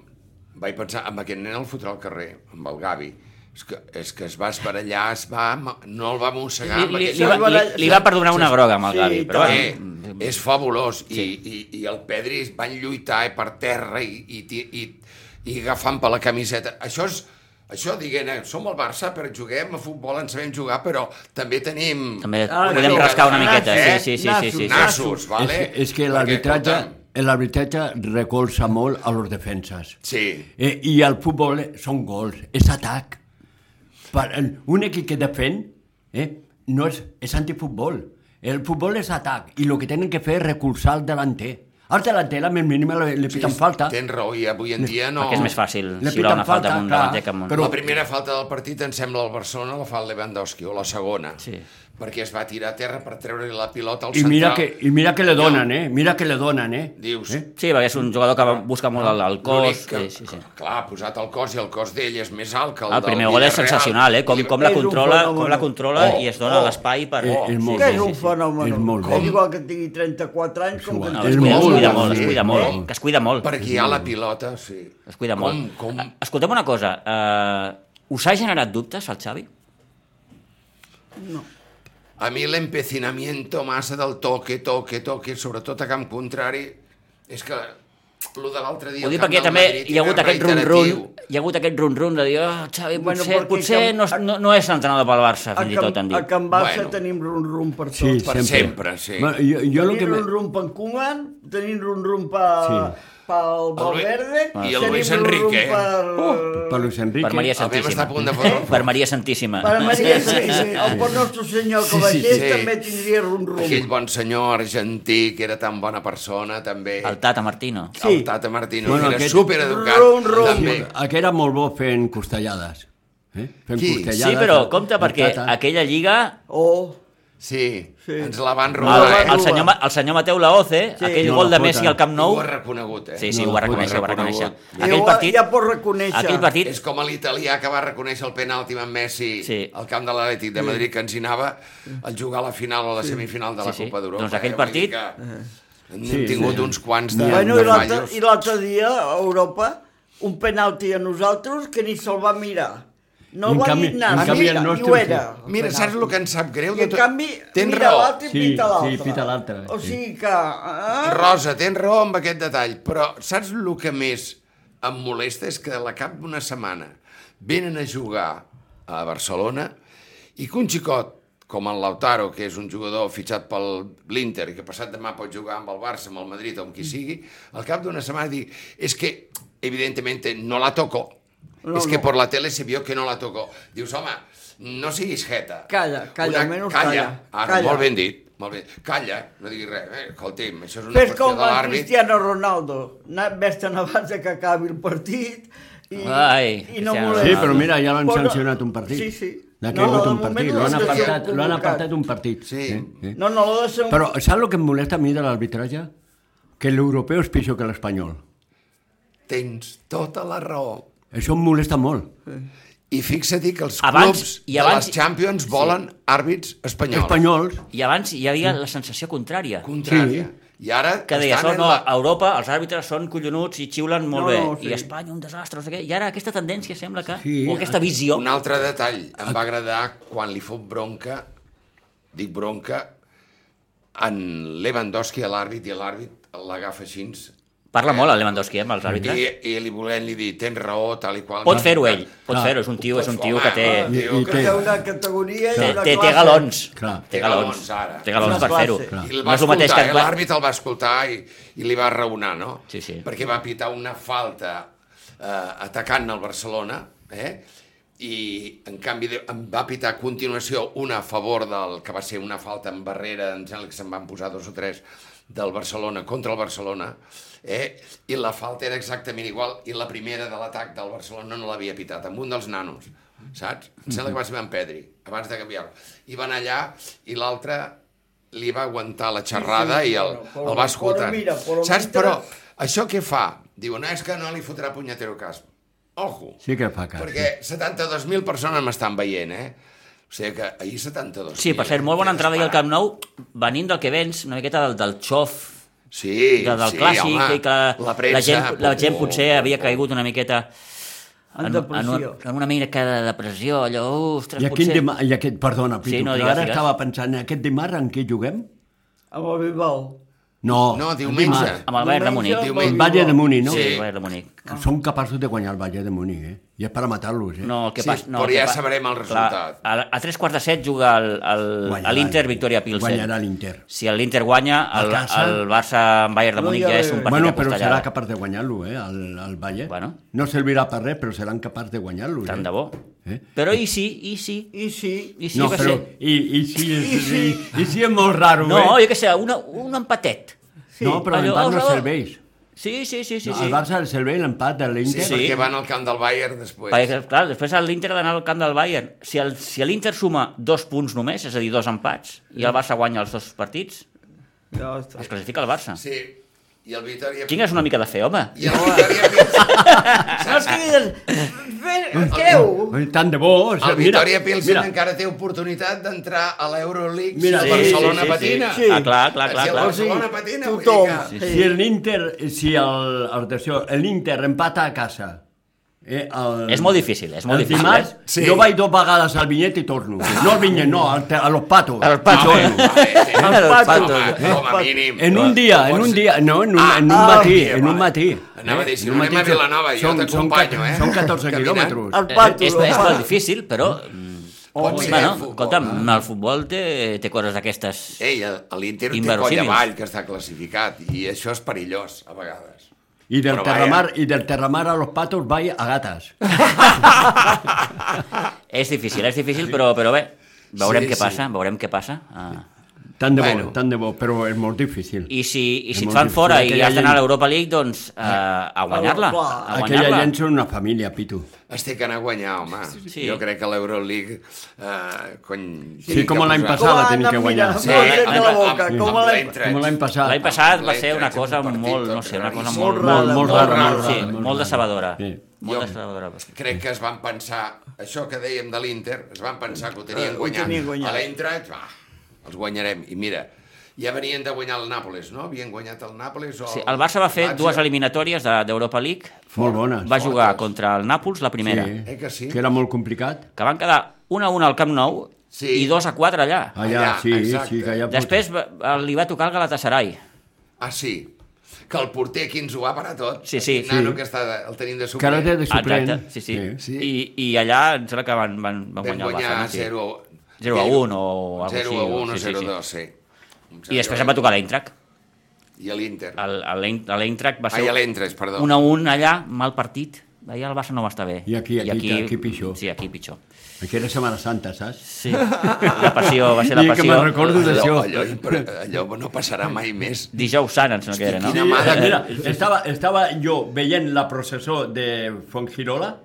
Speaker 2: vaig pensar, amb aquest nen el fotrà al carrer, amb el Gavi. És que, és que es va esbarallar, es va, ma- no el va mossegar. amb
Speaker 1: Li, li,
Speaker 2: aquest-
Speaker 1: li, va, li, li va perdonar una groga amb el
Speaker 3: Sí,
Speaker 1: Gavi, però
Speaker 3: tant.
Speaker 1: bueno,
Speaker 2: Eh, és fabulós. I, i, I el Pedri es van lluitar eh, per terra i, i, ti- i, i agafant per la camiseta. Això és... Això diguent, eh, som el Barça, però juguem a futbol, ens sabem jugar, però també tenim...
Speaker 1: també
Speaker 3: Ah,
Speaker 1: podem
Speaker 3: sí,
Speaker 1: rascar una
Speaker 3: nassos,
Speaker 1: miqueta.
Speaker 2: eh?
Speaker 1: Sí, sí, sí, sí,
Speaker 3: Nassos,
Speaker 1: sí, sí.
Speaker 3: nassos.
Speaker 2: Nassos, vale?
Speaker 4: És, és que
Speaker 2: Perquè,
Speaker 4: l'arbitratge
Speaker 2: escolta'm,
Speaker 4: l'arbitratge recolza molt a les defenses.
Speaker 2: Sí.
Speaker 4: Eh, I el futbol són gols, és atac. Per, el- un equip que defen eh, no és, és antifutbol. El futbol és atac i el que tenen que fer és recolzar el delanter. Al delanter, la més mínima, li, li piten falta.
Speaker 2: Tens raó, i avui en dia no...
Speaker 1: Perquè és més fàcil
Speaker 4: Le
Speaker 1: xiular una
Speaker 4: piten
Speaker 1: falta
Speaker 4: falta,
Speaker 1: amb un
Speaker 4: clar,
Speaker 1: davanter que amb un...
Speaker 4: però-
Speaker 2: La primera falta del partit, em sembla, el Barcelona la fa el Lewandowski, o la segona.
Speaker 1: Sí.
Speaker 2: Perquè es va tirar a terra per treure la pilota al
Speaker 4: I
Speaker 2: central.
Speaker 4: mira, que, I mira que le donen, eh? Mira que le donen, eh?
Speaker 2: Dius,
Speaker 4: Eh?
Speaker 1: Sí, perquè és un jugador que va- busca molt el, el cos.
Speaker 2: L'únic
Speaker 1: Que...
Speaker 2: Que,
Speaker 1: Sí, sí, sí.
Speaker 2: Clar, ha posat el cos i el cos d'ell és més alt que el
Speaker 1: El
Speaker 2: del
Speaker 1: primer gol és
Speaker 2: Villarreal.
Speaker 1: sensacional, eh? Com,
Speaker 2: I-
Speaker 1: com la
Speaker 3: És un
Speaker 1: controla,
Speaker 3: fenomen.
Speaker 1: com la controla
Speaker 2: Oh,
Speaker 1: i es dona
Speaker 2: oh.
Speaker 1: l'espai per...
Speaker 4: Eh, és molt
Speaker 3: Que
Speaker 4: Sí,
Speaker 3: és un
Speaker 4: sí, sí.
Speaker 3: fenomen.
Speaker 4: És molt
Speaker 3: com
Speaker 2: bé.
Speaker 3: igual que tingui 34 anys, com que
Speaker 4: igual.
Speaker 1: No,
Speaker 4: és
Speaker 1: es, cuida, es
Speaker 4: molt
Speaker 1: cuida
Speaker 4: bo,
Speaker 1: molt,
Speaker 4: sí.
Speaker 1: es cuida molt, que es cuida molt.
Speaker 2: Per guiar
Speaker 4: Mm.
Speaker 2: la pilota, sí.
Speaker 1: Es cuida
Speaker 2: com,
Speaker 1: molt.
Speaker 2: Com...
Speaker 1: Eh, Escolteu una cosa, eh, us ha generat dubtes el Xavi?
Speaker 2: A mi l'empecinamiento massa del toque, toque, toque, sobretot a camp contrari, és que lo de l'altre dia...
Speaker 1: Ho
Speaker 2: al
Speaker 1: dic
Speaker 2: camp
Speaker 1: perquè
Speaker 2: del
Speaker 1: també
Speaker 2: Madrid
Speaker 1: hi ha hagut
Speaker 2: era
Speaker 1: aquest run-run,
Speaker 2: reiteratiu.
Speaker 1: hi ha hagut aquest run-run de dir, oh, Xavi,
Speaker 3: Bueno,
Speaker 1: potser,
Speaker 3: perquè
Speaker 1: potser
Speaker 3: que-
Speaker 1: no, és- no, no és l'entrenador pel Barça,
Speaker 3: a,
Speaker 1: fins i tot
Speaker 3: Can,
Speaker 1: han
Speaker 3: a
Speaker 1: dit.
Speaker 3: Can Barça
Speaker 2: Bueno.
Speaker 3: tenim rum-rum per tot.
Speaker 4: Sí,
Speaker 2: Per
Speaker 4: sempre.
Speaker 2: sempre, sí.
Speaker 4: Bueno, jo, jo el
Speaker 3: tenim
Speaker 4: que me-
Speaker 3: rum-rum per Koeman, tenim rum-rum per...
Speaker 4: Sí.
Speaker 3: pel Valverde,
Speaker 2: i el
Speaker 3: tenim
Speaker 2: Luis
Speaker 3: rum-rum
Speaker 2: Enrique, eh?
Speaker 4: Oh,
Speaker 3: Per,
Speaker 4: Per Luis Enrique...
Speaker 1: Per Maria
Speaker 2: vam estar a
Speaker 1: Santíssima.
Speaker 2: punt de fotre el
Speaker 1: Per Maria Santíssima.
Speaker 3: per Maria Santíssima. El bon nostre senyor que
Speaker 4: Sí, sí,
Speaker 3: baixés
Speaker 2: sí.
Speaker 3: també tindria rum-rum.
Speaker 2: Aquell bon senyor argentí que era tan bona persona, també.
Speaker 1: El Tata Martino.
Speaker 3: Sí.
Speaker 2: El Tata Martino,
Speaker 4: Bueno,
Speaker 2: que era
Speaker 4: aquest-
Speaker 2: supereducat.
Speaker 3: Run, run.
Speaker 2: també.
Speaker 4: Aquest era molt bo fent costellades. Eh? Fent
Speaker 2: Qui?
Speaker 1: Sí, però compte, perquè aquella lliga
Speaker 3: Oh,
Speaker 2: Sí,
Speaker 3: Sí.
Speaker 2: ens la van
Speaker 1: El,
Speaker 2: robar, eh?
Speaker 1: el, senyor, Ma- el senyor Mateu Laoce,
Speaker 3: Sí.
Speaker 1: sí. aquell
Speaker 4: No,
Speaker 1: gol de
Speaker 4: la
Speaker 1: Messi
Speaker 4: puta.
Speaker 1: al Camp Nou...
Speaker 2: Ho ha reconegut, eh?
Speaker 1: Sí, sí,
Speaker 4: No,
Speaker 1: ho va
Speaker 4: la puta,
Speaker 1: reconèixer, ho va
Speaker 2: reconegut.
Speaker 1: reconèixer.
Speaker 2: Ja
Speaker 1: Aquell
Speaker 3: ho-
Speaker 1: partit,
Speaker 3: ja pot reconèixer.
Speaker 1: aquell partit
Speaker 2: És com a l'italià que va reconèixer el penalti amb Messi
Speaker 1: Sí.
Speaker 2: al camp de l'Atlètic de Madrid, que ens hi anava al jugar a la final o a la semifinal de la
Speaker 1: Sí, sí.
Speaker 2: Copa d'Europa.
Speaker 1: Doncs aquell
Speaker 2: eh? Vull dir
Speaker 1: partit-
Speaker 2: Que... N'hem
Speaker 4: Sí,
Speaker 2: tingut
Speaker 4: sí.
Speaker 2: uns quants de...
Speaker 3: Eh. Bueno,
Speaker 2: de
Speaker 3: i l'altre
Speaker 2: fallos.
Speaker 3: i l'altre dia a Europa, un penalti a nosaltres que ni se'l va mirar. No
Speaker 4: En
Speaker 3: va
Speaker 4: canvi-
Speaker 3: dir nada,
Speaker 4: en canvi
Speaker 3: mira,
Speaker 4: el
Speaker 3: i
Speaker 4: nostre
Speaker 3: ho era.
Speaker 4: sí.
Speaker 3: el
Speaker 2: Mira, saps
Speaker 3: penalti.
Speaker 2: el que ens sap greu?
Speaker 3: I
Speaker 2: de
Speaker 3: en
Speaker 2: tot?
Speaker 3: canvi
Speaker 2: Tens
Speaker 3: mira
Speaker 2: raó.
Speaker 3: l'altre i
Speaker 4: Sí,
Speaker 3: pita
Speaker 4: sí,
Speaker 3: l'altre.
Speaker 4: pita l'altre,
Speaker 3: O
Speaker 4: sí.
Speaker 3: sigui que... Ah,
Speaker 2: Rosa, tens raó amb aquest detall, però saps el que més em molesta? És que a la cap d'una setmana venen a jugar a Barcelona i que un xicot com el Lautaro, que és un jugador fitxat per l'Inter i que passat demà pot jugar amb el Barça, amb el Madrid o amb qui
Speaker 3: Mm.
Speaker 2: sigui, al cap d'una setmana dic, és que, evidentment, no la toco.
Speaker 3: No,
Speaker 2: No, és que
Speaker 3: no.
Speaker 2: por la tele se vio que no la tocó. Dius, home, no siguis jeta.
Speaker 3: Calla, calla, almenys calla.
Speaker 2: Ara,
Speaker 3: Calla.
Speaker 2: molt ben dit. Molt bé. Calla, no diguis res. Eh, escolti'm, això és una
Speaker 3: Fes
Speaker 2: qüestió
Speaker 3: com
Speaker 2: de
Speaker 3: el
Speaker 2: l'àrbit.
Speaker 3: Cristiano Ronaldo. Na- Ves-te'n abans de que acabi el partit i,
Speaker 1: Ai,
Speaker 3: i no
Speaker 1: Cristiano
Speaker 3: molestis.
Speaker 4: Sí, però mira, ja l'han
Speaker 3: Posa-
Speaker 4: sancionat un partit.
Speaker 3: Sí, sí.
Speaker 4: N'ha caigut
Speaker 3: de
Speaker 4: un
Speaker 3: moment
Speaker 4: partit,
Speaker 3: no
Speaker 4: l'han
Speaker 3: l'ha de ser
Speaker 4: apartat, l'han
Speaker 3: convocat.
Speaker 4: apartat un partit.
Speaker 2: Sí.
Speaker 4: Eh?
Speaker 3: No, no, l'ha de ser un...
Speaker 4: Però saps el que em molesta a mi de l'arbitratge? Que l'europeu és pitjor que l'espanyol.
Speaker 2: Tens tota la raó.
Speaker 4: Això em molesta molt.
Speaker 2: I fixa-t'hi que els
Speaker 1: Abans
Speaker 2: clubs
Speaker 1: i
Speaker 2: i
Speaker 1: abans-
Speaker 2: de les Champions volen àrbits espanyols.
Speaker 4: Espanyols,
Speaker 1: i abans hi havia la sensació contrària.
Speaker 2: Contrària. I ara
Speaker 1: que deies, oh,
Speaker 2: estan en
Speaker 1: no, a
Speaker 2: la...
Speaker 1: Europa els àrbitres són collonuts i xiulen molt
Speaker 3: No,
Speaker 1: bé,
Speaker 3: no, sí.
Speaker 1: i Espanya un desastre, no sé què. I ara aquesta tendència sembla que,
Speaker 4: Sí,
Speaker 1: o aquesta visió...
Speaker 2: Un altre detall. Em va agradar quan li fot bronca, dic bronca, en Lewandowski a l'àrbit i l'àrbit l'agafa així
Speaker 1: Parla molt el Lewandowski eh, amb els àrbitres.
Speaker 2: i, i li volent li dir, tens raó, tal i qual.
Speaker 1: Pot fer-ho ell, pot
Speaker 4: Ah.
Speaker 1: fer-ho, és un tio, és un tio
Speaker 2: Home,
Speaker 1: que té...
Speaker 2: home, Ah, tio,
Speaker 4: I- i
Speaker 2: que
Speaker 4: té-
Speaker 3: Hi ha una categoria i
Speaker 1: Té,
Speaker 3: una
Speaker 1: té, té
Speaker 3: classe.
Speaker 1: galons,
Speaker 4: Clar.
Speaker 1: té
Speaker 2: Té
Speaker 1: galons,
Speaker 2: galons, ara.
Speaker 1: té galons
Speaker 3: Una
Speaker 1: per fer-ho.
Speaker 3: classe.
Speaker 2: I el
Speaker 1: No
Speaker 2: va
Speaker 1: és el mateix
Speaker 2: escoltar,
Speaker 1: que...
Speaker 2: eh?
Speaker 1: el-
Speaker 2: l'àrbitre el va escoltar i, i li va raonar, no?
Speaker 1: Sí, sí.
Speaker 2: Perquè va pitar una falta eh, atacant el Barcelona, eh? i en canvi de, em va pitar a continuació una a favor del que va ser una falta en barrera, em sembla que se'n van posar dos o tres del Barcelona contra el Barcelona, eh? i la falta era exactament igual, i la primera de l'atac del Barcelona no l'havia pitat, amb un dels nanos, saps? Em sembla que va ser en Pedri, abans de canviar-lo. I van allà, i l'altre li va aguantar la xerrada
Speaker 3: sí,
Speaker 2: i el,
Speaker 3: però- però-
Speaker 2: el va escoltar.
Speaker 3: però mira, però
Speaker 2: Saps,
Speaker 3: mentre-
Speaker 2: però això què fa? Diu, no, és que no li fotrà punyetero cas. Ojo,
Speaker 4: sí que fa cas.
Speaker 2: perquè 72.000 persones m'estan veient, eh? O sigui que ahir 72.
Speaker 1: Sí, per cert, molt bona entrada i al Camp Nou, venint del que vens, una miqueta del, del xof,
Speaker 2: Sí,
Speaker 1: de, del
Speaker 2: sí,
Speaker 1: clàssic,
Speaker 2: home,
Speaker 1: i que
Speaker 2: la, premsa,
Speaker 1: la, gent, la
Speaker 2: pum,
Speaker 1: gent potser
Speaker 2: pum,
Speaker 1: havia
Speaker 2: pum.
Speaker 1: caigut una miqueta
Speaker 3: En
Speaker 1: en, en, una,
Speaker 3: depressió.
Speaker 1: en una mica de depressió, allò, ostres,
Speaker 4: I aquest,
Speaker 1: potser...
Speaker 4: dima... I aquest, perdona, Pitu,
Speaker 1: Sí, no,
Speaker 4: però
Speaker 1: digues,
Speaker 4: ara
Speaker 1: digues.
Speaker 4: estava pensant, aquest dimarts en què juguem?
Speaker 3: Amb el Bilbao.
Speaker 4: No,
Speaker 2: No,
Speaker 4: el
Speaker 2: diumenge.
Speaker 4: dimarts.
Speaker 1: Amb el Bayern de Múnich.
Speaker 3: Diumenge,
Speaker 2: Diumenge.
Speaker 4: El Bayern de Múnich, no?
Speaker 1: Sí,
Speaker 2: Sí.
Speaker 1: el Bayern de Múnich.
Speaker 4: Que Són capaços de guanyar el Bayern de Múnich, eh? I és per a matar-los, eh?
Speaker 1: No, el que
Speaker 2: Sí,
Speaker 1: passa... No,
Speaker 2: però
Speaker 1: el que
Speaker 2: ja
Speaker 1: pa-
Speaker 2: sabrem el
Speaker 1: clar,
Speaker 2: resultat.
Speaker 1: A, a tres quarts de set juga el- el-
Speaker 4: Guanyarà
Speaker 1: a l'Inter
Speaker 4: el-
Speaker 1: Victoria Pilsen.
Speaker 4: guanyarà l'Inter.
Speaker 1: Si l'Inter guanya, el,
Speaker 4: El Barça?
Speaker 1: el Barça amb Bayern de
Speaker 3: No,
Speaker 1: Múnich
Speaker 3: ja
Speaker 1: ja és
Speaker 3: ve-
Speaker 1: un partit
Speaker 4: Bueno,
Speaker 1: a
Speaker 4: però serà
Speaker 1: costellada.
Speaker 4: capaç de guanyar-lo, eh, el, el Bayern.
Speaker 1: Bueno.
Speaker 4: No servirà per res, però seran capaç de guanyar-lo.
Speaker 1: Tant
Speaker 4: eh?
Speaker 1: de bo.
Speaker 4: Eh?
Speaker 1: Però i si, i si...
Speaker 3: I sí.
Speaker 1: I si
Speaker 4: No,
Speaker 1: va
Speaker 4: però...
Speaker 1: ser...
Speaker 4: I, i, si és, I, si... I si és molt raro,
Speaker 1: No,
Speaker 4: eh?
Speaker 1: jo què sé, una, un empatet.
Speaker 4: No, però
Speaker 1: Allò,
Speaker 4: l'empat no
Speaker 1: oh, oh.
Speaker 4: serveix.
Speaker 1: Sí, sí, sí, sí.
Speaker 4: No,
Speaker 1: sí.
Speaker 4: Al Barça el serveix l'empat de
Speaker 2: Sí,
Speaker 4: l'Inter.
Speaker 1: Sí.
Speaker 2: perquè van al camp del Bayern després.
Speaker 1: Perquè, clar, després l'Inter ha d'anar al camp del Bayern. Si el- si l'Inter suma dos punts només, és a dir, dos empats, i el Barça guanya els dos partits,
Speaker 3: Ja està.
Speaker 1: es classifica el Barça.
Speaker 2: Sí, i el Vitoria...
Speaker 1: Tingues una mica de fe, home.
Speaker 2: I el Vitoria Pilsen...
Speaker 3: No
Speaker 2: Saps
Speaker 3: és que
Speaker 2: què?
Speaker 3: digues... Fes- Creu!
Speaker 4: Tant de bo. o sigui,
Speaker 2: El Vitoria Pilsen
Speaker 4: mira,
Speaker 2: encara té oportunitat d'entrar a l'Euroleague si
Speaker 4: Mira,
Speaker 2: el
Speaker 4: sí,
Speaker 2: Barcelona
Speaker 1: sí, sí, sí.
Speaker 2: patina.
Speaker 3: Sí.
Speaker 1: Ah, clar, clar, clar,
Speaker 2: Si el
Speaker 1: clar.
Speaker 2: Barcelona patina, vull
Speaker 3: Tothom.
Speaker 2: dir que...
Speaker 3: Sí,
Speaker 4: Si l'Inter, si el, atenció, l'Inter empata a casa, eh, el,
Speaker 1: És molt difícil, és molt
Speaker 4: el
Speaker 1: difícil,
Speaker 4: Dimarts,
Speaker 1: eh?
Speaker 2: Sí.
Speaker 4: sí. jo vaig dues vegades al vinyet i torno. No al vinyet, no, al, te- a los patos.
Speaker 1: Al pato.
Speaker 4: I torno.
Speaker 2: Home,
Speaker 1: Pato.
Speaker 2: com a mínim.
Speaker 4: En un dia, en un dia, no, en un,
Speaker 2: Ah,
Speaker 4: en un matí, en un matí.
Speaker 2: Anava a dir,
Speaker 4: eh,
Speaker 2: si
Speaker 4: en un
Speaker 2: no anem a
Speaker 4: matí,
Speaker 2: Vilanova, jo
Speaker 4: són- són
Speaker 2: t'acompanyo,
Speaker 4: ca-
Speaker 2: eh?
Speaker 4: Són 14
Speaker 2: Caminant. Ah,
Speaker 4: quilòmetres.
Speaker 3: El
Speaker 1: Eh,
Speaker 3: pato.
Speaker 1: És,
Speaker 3: el
Speaker 1: és
Speaker 3: pato.
Speaker 1: molt difícil, però... mm,
Speaker 2: Pot ser
Speaker 1: Bueno,
Speaker 2: el futbol. eh.
Speaker 1: escolta'm, el futbol té, té coses d'aquestes.
Speaker 2: Ei, el- l'Inter té coll
Speaker 1: Inverosímils.
Speaker 2: avall, que està classificat, i això és perillós, a vegades.
Speaker 4: I del,
Speaker 2: Però vaja.
Speaker 4: terramar, I del terramar a los patos vaig a gates.
Speaker 1: És difícil, és difícil, però, però bé, veurem
Speaker 2: Sí,
Speaker 1: què
Speaker 2: sí.
Speaker 1: passa, veurem què passa. Ah.
Speaker 4: Tant de bo,
Speaker 2: Bueno.
Speaker 4: bueno. tant de bo, però és molt difícil.
Speaker 1: I si, i
Speaker 4: És
Speaker 1: si et
Speaker 4: molt
Speaker 1: fan
Speaker 4: difícil.
Speaker 1: fora i
Speaker 4: Aquella
Speaker 1: has d'anar a
Speaker 4: gent-
Speaker 1: l'Europa League, doncs eh, a guanyar-la.
Speaker 3: clar,
Speaker 1: A
Speaker 4: Aquella
Speaker 1: guanyar-la.
Speaker 4: gent són una família, Pitu.
Speaker 2: Es té que anar a guanyar, home.
Speaker 1: Sí.
Speaker 2: Jo crec que l'Euroleague... Eh, cony,
Speaker 4: Sí, com l'any
Speaker 2: posar-
Speaker 4: passada
Speaker 3: Com
Speaker 4: tenim
Speaker 3: han
Speaker 4: que
Speaker 3: anat
Speaker 4: guanyar.
Speaker 3: mirant?
Speaker 2: Sí,
Speaker 3: Molt bé,
Speaker 2: amb-
Speaker 1: de la
Speaker 2: amb-
Speaker 3: boca,
Speaker 2: amb-
Speaker 3: com
Speaker 2: amb
Speaker 3: l'any-
Speaker 2: l'any
Speaker 4: Com l'any
Speaker 2: tret.
Speaker 4: passat.
Speaker 1: L'any passat va
Speaker 2: L'any
Speaker 1: ser una
Speaker 2: tret,
Speaker 1: cosa
Speaker 2: un partit,
Speaker 1: molt, no
Speaker 2: que
Speaker 1: sé, una cosa
Speaker 2: raríssim.
Speaker 1: molt...
Speaker 3: Molt rara,
Speaker 4: molt
Speaker 3: molt
Speaker 4: rara, molt
Speaker 1: sí,
Speaker 4: rara,
Speaker 1: molt,
Speaker 4: molt
Speaker 1: molt
Speaker 4: rara.
Speaker 1: decebedora.
Speaker 4: Sí.
Speaker 2: Jo-
Speaker 1: Molt decebedora.
Speaker 2: Crec que es van pensar, això que dèiem de l'Inter, es van pensar que ho
Speaker 4: Eh,
Speaker 2: tenien
Speaker 3: Ho
Speaker 2: guanyat.
Speaker 3: tenien guanyat.
Speaker 2: A l'Eintracht, va, els guanyarem. I mira, ja venien de guanyar el Nàpoles, no? Havien guanyat el Nàpoles o...
Speaker 1: Sí, el Barça va fer
Speaker 2: Lazio.
Speaker 1: dues eliminatòries de- d'Europa League.
Speaker 4: Molt bona.
Speaker 1: Va jugar contra el Nàpols, la primera,
Speaker 2: Eh que sí?
Speaker 4: Que era molt complicat.
Speaker 1: que van quedar 1 a 1 al Camp Nou
Speaker 2: Sí.
Speaker 1: i 2 a 4 allà.
Speaker 4: Allà,
Speaker 2: Allà,
Speaker 4: sí,
Speaker 2: exacte.
Speaker 4: sí, que allà...
Speaker 1: Després va- li va tocar el Galatasaray.
Speaker 2: Ah, sí? Que el porter aquí ens ho va parar tot.
Speaker 1: Sí, sí.
Speaker 2: Aquest nano
Speaker 4: Sí.
Speaker 2: que està de, el tenim de
Speaker 4: Que
Speaker 2: suplent.
Speaker 4: ara té de suplent.
Speaker 1: Exacte, sí, sí.
Speaker 2: Sí.
Speaker 1: I, I allà em sembla que van, van, van
Speaker 2: Vam
Speaker 1: guanyar el
Speaker 2: guanyar
Speaker 1: Barça. no? Sí.
Speaker 2: 0
Speaker 1: 0 a 1 o alguna
Speaker 2: 0
Speaker 1: cosa
Speaker 2: a
Speaker 1: així,
Speaker 2: 1 o
Speaker 1: sí, sí,
Speaker 2: 0
Speaker 1: sí.
Speaker 2: a 2, sí.
Speaker 1: I després em va tocar Ah, l'Eintrac.
Speaker 2: I l'Inter.
Speaker 1: El- el- L'Eintrac va
Speaker 2: Ah,
Speaker 1: ser
Speaker 2: i l'Entres, perdó.
Speaker 1: un a un allà, mal partit. Allà el Barça no va estar bé.
Speaker 4: I aquí- aquí- aquí pitjor.
Speaker 1: Sí, aquí pitjor.
Speaker 4: Aquí era Setmana Santa, saps?
Speaker 1: Sí. La passió, va ser la
Speaker 4: I que
Speaker 1: passió.
Speaker 4: me'n recordo de-
Speaker 2: Allò,
Speaker 4: Allò-
Speaker 2: allò, però allò no passarà mai més.
Speaker 1: Dijous sant, em sembla que era, no?
Speaker 2: Quina mà de...
Speaker 4: eh, Mira, estava, estava jo veient la processó de Fongirola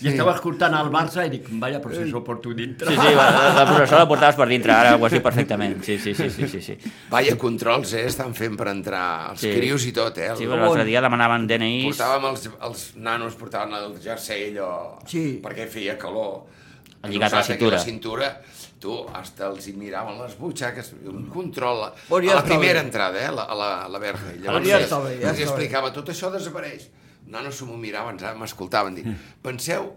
Speaker 4: i estava escoltant el Barça i dic, vaya processó porto dintre.
Speaker 1: Sí, sí, va, la professora la portaves per dintre, ara ho has dit perfectament. Sí, sí, sí, sí, sí. sí.
Speaker 2: Vaya controls, eh? Estan fent per entrar els
Speaker 1: Sí.
Speaker 2: crios i tot, eh? El,
Speaker 1: Sí, però l'altre dia demanaven DNIs...
Speaker 2: Portàvem els, els nanos, portaven el jersei allò,
Speaker 3: Sí.
Speaker 2: perquè feia calor.
Speaker 1: Lligat a la
Speaker 2: Nosaltres aquí
Speaker 1: cintura.
Speaker 2: La cintura, tu, hasta els hi miraven les butxaques, un control.
Speaker 3: Bon, ja
Speaker 2: a la
Speaker 3: està
Speaker 2: primera
Speaker 3: bé.
Speaker 2: entrada, eh, a la, a la, a la verga. I
Speaker 1: Bon, ja
Speaker 2: els-
Speaker 3: està
Speaker 2: els
Speaker 3: bé, ja està bé.
Speaker 2: Doncs explicava, tot això desapareix. Nano s'ho miraven, eh, m'escoltaven, dic, penseu,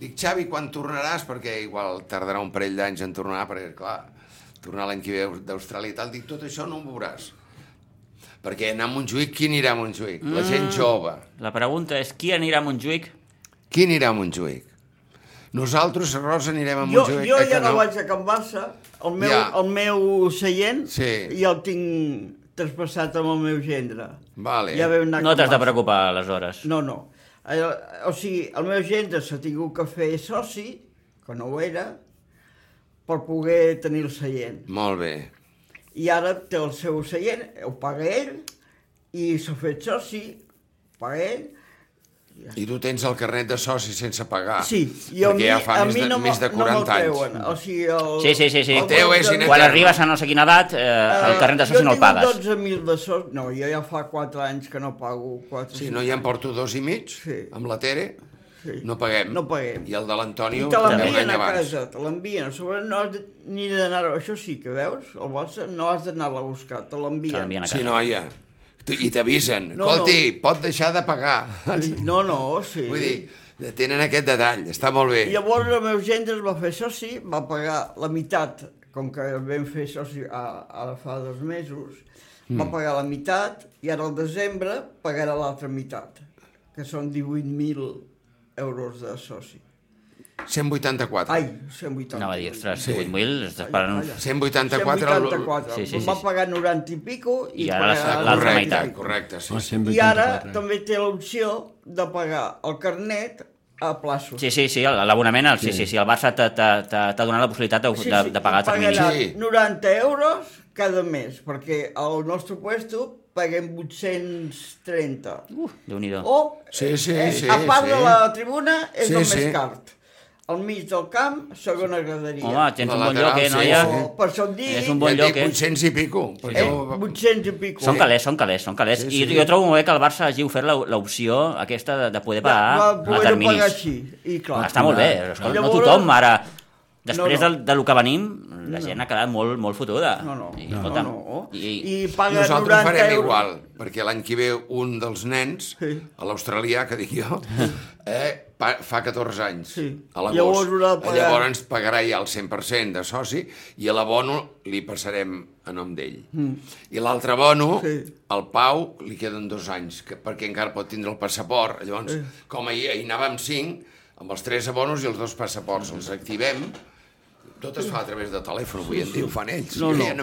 Speaker 2: dic, Xavi, quan tornaràs? Perquè igual tardarà un parell d'anys en tornar, perquè, clar, tornar l'any que ve d'Austràlia i tal, dic, tot això no ho veuràs. Perquè anar a Montjuïc, qui anirà a Montjuïc? La
Speaker 3: Mm.
Speaker 2: gent jove.
Speaker 1: La pregunta és qui anirà a Montjuïc?
Speaker 2: Qui anirà a Montjuïc? Nosaltres, a Rosa, anirem a
Speaker 3: Jo,
Speaker 2: Montjuïc.
Speaker 3: jo
Speaker 2: eh que
Speaker 3: ja no vaig a Can Barça, el meu,
Speaker 2: Ja.
Speaker 3: el meu seient
Speaker 2: Sí.
Speaker 3: ja el tinc traspassat amb el meu gendre.
Speaker 2: Vale.
Speaker 3: Ja vam anar a
Speaker 1: No
Speaker 3: Can
Speaker 1: t'has de
Speaker 3: Barça.
Speaker 1: preocupar, aleshores.
Speaker 3: No, no. Eh, O sigui, el meu gendre s'ha tingut que fer soci, que no ho era, per poder tenir el seient.
Speaker 2: Molt bé.
Speaker 3: I ara té el seu seient, ho paga ell, i s'ha fet soci, ho paga ell.
Speaker 2: I tu tens el carnet de soci sense pagar.
Speaker 3: Sí, i a
Speaker 2: Ah, perquè
Speaker 3: mi,
Speaker 2: ja fa
Speaker 3: a
Speaker 2: més,
Speaker 3: mi
Speaker 2: de,
Speaker 3: no,
Speaker 2: més de
Speaker 3: no
Speaker 2: 40
Speaker 3: me'l treuen.
Speaker 2: anys.
Speaker 3: O sigui, el,
Speaker 1: Sí, sí, sí, sí.
Speaker 3: el
Speaker 2: teu és
Speaker 3: gendre-
Speaker 2: inetern.
Speaker 1: Quan arribes a no sé quina edat, eh, el carnet de soci no el
Speaker 3: Jo
Speaker 1: pagues.
Speaker 3: tinc un 12.000 de soci. No, jo ja fa 4 anys que no pago. 4,
Speaker 2: Sí, no, ja en porto dos i mig,
Speaker 3: Sí.
Speaker 2: amb la Tere.
Speaker 3: Sí.
Speaker 2: No paguem.
Speaker 3: No paguem.
Speaker 2: I el de
Speaker 3: I
Speaker 2: l'Antonio
Speaker 3: te
Speaker 2: també un any
Speaker 3: l'envien a
Speaker 2: abans.
Speaker 3: casa, te l'envien. A sobre no has de, ni d'anar... Això sí que veus, el Barça no has d'anar-la a buscar, te
Speaker 1: Te
Speaker 3: l'envien.
Speaker 1: l'envien a
Speaker 2: Sí,
Speaker 1: casa.
Speaker 2: noia. Tu- I t'avisen.
Speaker 3: No,
Speaker 2: No, Colti, no. pot deixar de pagar.
Speaker 3: No, no, sí.
Speaker 2: Vull dir, tenen aquest detall, està molt bé.
Speaker 3: Llavors el meu gendre es va fer soci, va pagar la meitat, com que el vam fer soci a, ara fa dos mesos, mm. va pagar la meitat i ara al desembre pagarà l'altra meitat, que són 18.000 euros de soci.
Speaker 2: 184.
Speaker 3: Ai, 180.
Speaker 1: Anava a dir, ostres,
Speaker 2: Sí.
Speaker 1: 8.000, estàs parant... uns-
Speaker 2: 184.
Speaker 3: 184.
Speaker 1: Sí, sí,
Speaker 3: va
Speaker 1: sí, sí.
Speaker 3: pagar 90 i pico i,
Speaker 1: I ara la-
Speaker 3: pagarà
Speaker 1: l'altra
Speaker 3: l'altra
Speaker 1: meitat.
Speaker 2: Ah, Correcte, correcte, sí.
Speaker 4: Oh,
Speaker 2: sí.
Speaker 4: 184.
Speaker 3: I ara també té l'opció de pagar el carnet a plaços.
Speaker 1: Sí, sí, sí, l'abonament, el- sí, sí, sí, el Barça t'ha t'ha- t'ha- t'ha donat la possibilitat de, de, de pagar el termini.
Speaker 3: pagarà
Speaker 2: Sí.
Speaker 3: 90 euros cada mes, perquè al nostre puesto paguem 830.
Speaker 1: Uh, Déu-n'hi-do.
Speaker 3: O, eh,
Speaker 2: Sí, sí, sí,
Speaker 3: a part
Speaker 2: sí.
Speaker 3: de la tribuna, és
Speaker 2: Sí,
Speaker 3: el
Speaker 2: sí.
Speaker 3: més cart. Al mig del camp, segona graderia.
Speaker 1: Home, tens un
Speaker 2: La
Speaker 1: bon
Speaker 2: lateral,
Speaker 1: lloc, eh,
Speaker 2: sí,
Speaker 1: noia?
Speaker 2: sí.
Speaker 3: O, per això et dic,
Speaker 1: És un bon
Speaker 2: Ja et
Speaker 1: lloc,
Speaker 2: dic,
Speaker 1: eh?
Speaker 2: 800 i pico. perquè
Speaker 3: eh,
Speaker 2: ho-
Speaker 3: 800 i pico.
Speaker 1: Són calés, són calés, són calés.
Speaker 2: Sí,
Speaker 1: Sí, sí.
Speaker 2: sí.
Speaker 1: I jo trobo molt bé que el Barça hagi ofert la- l'opció aquesta de, de poder
Speaker 3: va
Speaker 1: pagar a
Speaker 3: poder
Speaker 1: eh, terminis.
Speaker 3: pagar així. I clar,
Speaker 1: Està molt bé, escolta, no tothom ara... Després
Speaker 3: No,
Speaker 1: no, no. de lo que venim, la gent ha quedat molt, molt fotuda.
Speaker 3: No, no.
Speaker 1: I,
Speaker 3: no,
Speaker 1: escolta'm,
Speaker 3: no.
Speaker 1: I,
Speaker 3: I,
Speaker 1: i,
Speaker 3: paga
Speaker 2: Nosaltres
Speaker 3: 90
Speaker 2: farem
Speaker 3: euros.
Speaker 2: igual, perquè l'any que ve un dels nens,
Speaker 3: Sí.
Speaker 2: a l'australià, que dic jo, eh, pa, fa 14 anys,
Speaker 3: Sí.
Speaker 2: a l'agost. Eh,
Speaker 3: Llavors haurà de pagar.
Speaker 2: Llavors pagarà ja el 100% de soci i a l'abono li passarem a nom d'ell. Mm. I l'altre abono,
Speaker 3: Sí.
Speaker 2: al Pau, li queden dos anys, que, perquè encara pot tindre el passaport. Llavors, com ahir, ahir anàvem cinc, amb els tres abonos i els dos passaports els activem, tot es fa a través de telèfon, avui en dia ho fan ells.
Speaker 1: No,
Speaker 2: jo
Speaker 1: no.
Speaker 2: ja me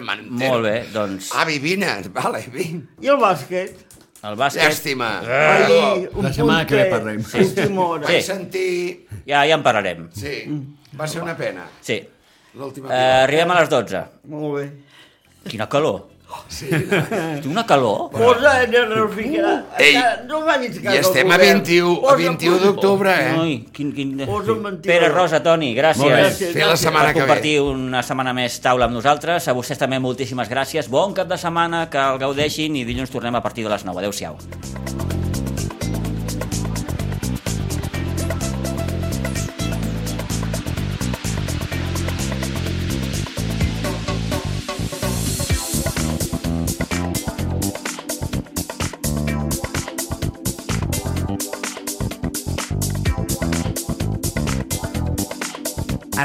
Speaker 2: n'entero.
Speaker 1: Molt bé, doncs,
Speaker 2: Avi, vine, vale, vine.
Speaker 3: I el bàsquet?
Speaker 1: el bàsquet...
Speaker 2: Llàstima.
Speaker 3: Ahir,
Speaker 2: Perdó.
Speaker 3: un
Speaker 4: Eh, La setmana que ve
Speaker 3: puntet,
Speaker 4: parlem.
Speaker 3: Última hora.
Speaker 1: Eh. Sí.
Speaker 2: Vaig sentir...
Speaker 1: Ja, ja en parlarem.
Speaker 2: Sí, va ser una pena,
Speaker 1: Sí.
Speaker 2: l'última
Speaker 1: Eh,
Speaker 2: vegada.
Speaker 1: arribem a les 12.
Speaker 3: Molt bé.
Speaker 1: Quina calor.
Speaker 2: Sí, no.
Speaker 1: Té una calor.
Speaker 3: Oh, Posa en nervificat.
Speaker 2: Ei,
Speaker 3: no m'hagis
Speaker 2: I estem a 21, a 21 d'octubre, eh?
Speaker 1: Noi, quin, quin...
Speaker 3: Posa un mentidor.
Speaker 1: Pere Rosa, Toni, gràcies.
Speaker 4: Molt bé.
Speaker 2: Té la setmana
Speaker 1: per
Speaker 2: que ve.
Speaker 1: compartir una setmana més taula amb nosaltres. A vostès també moltíssimes gràcies. Bon cap de setmana, que el gaudeixin i dilluns tornem a partir de les 9. Adéu-siau.
Speaker 5: A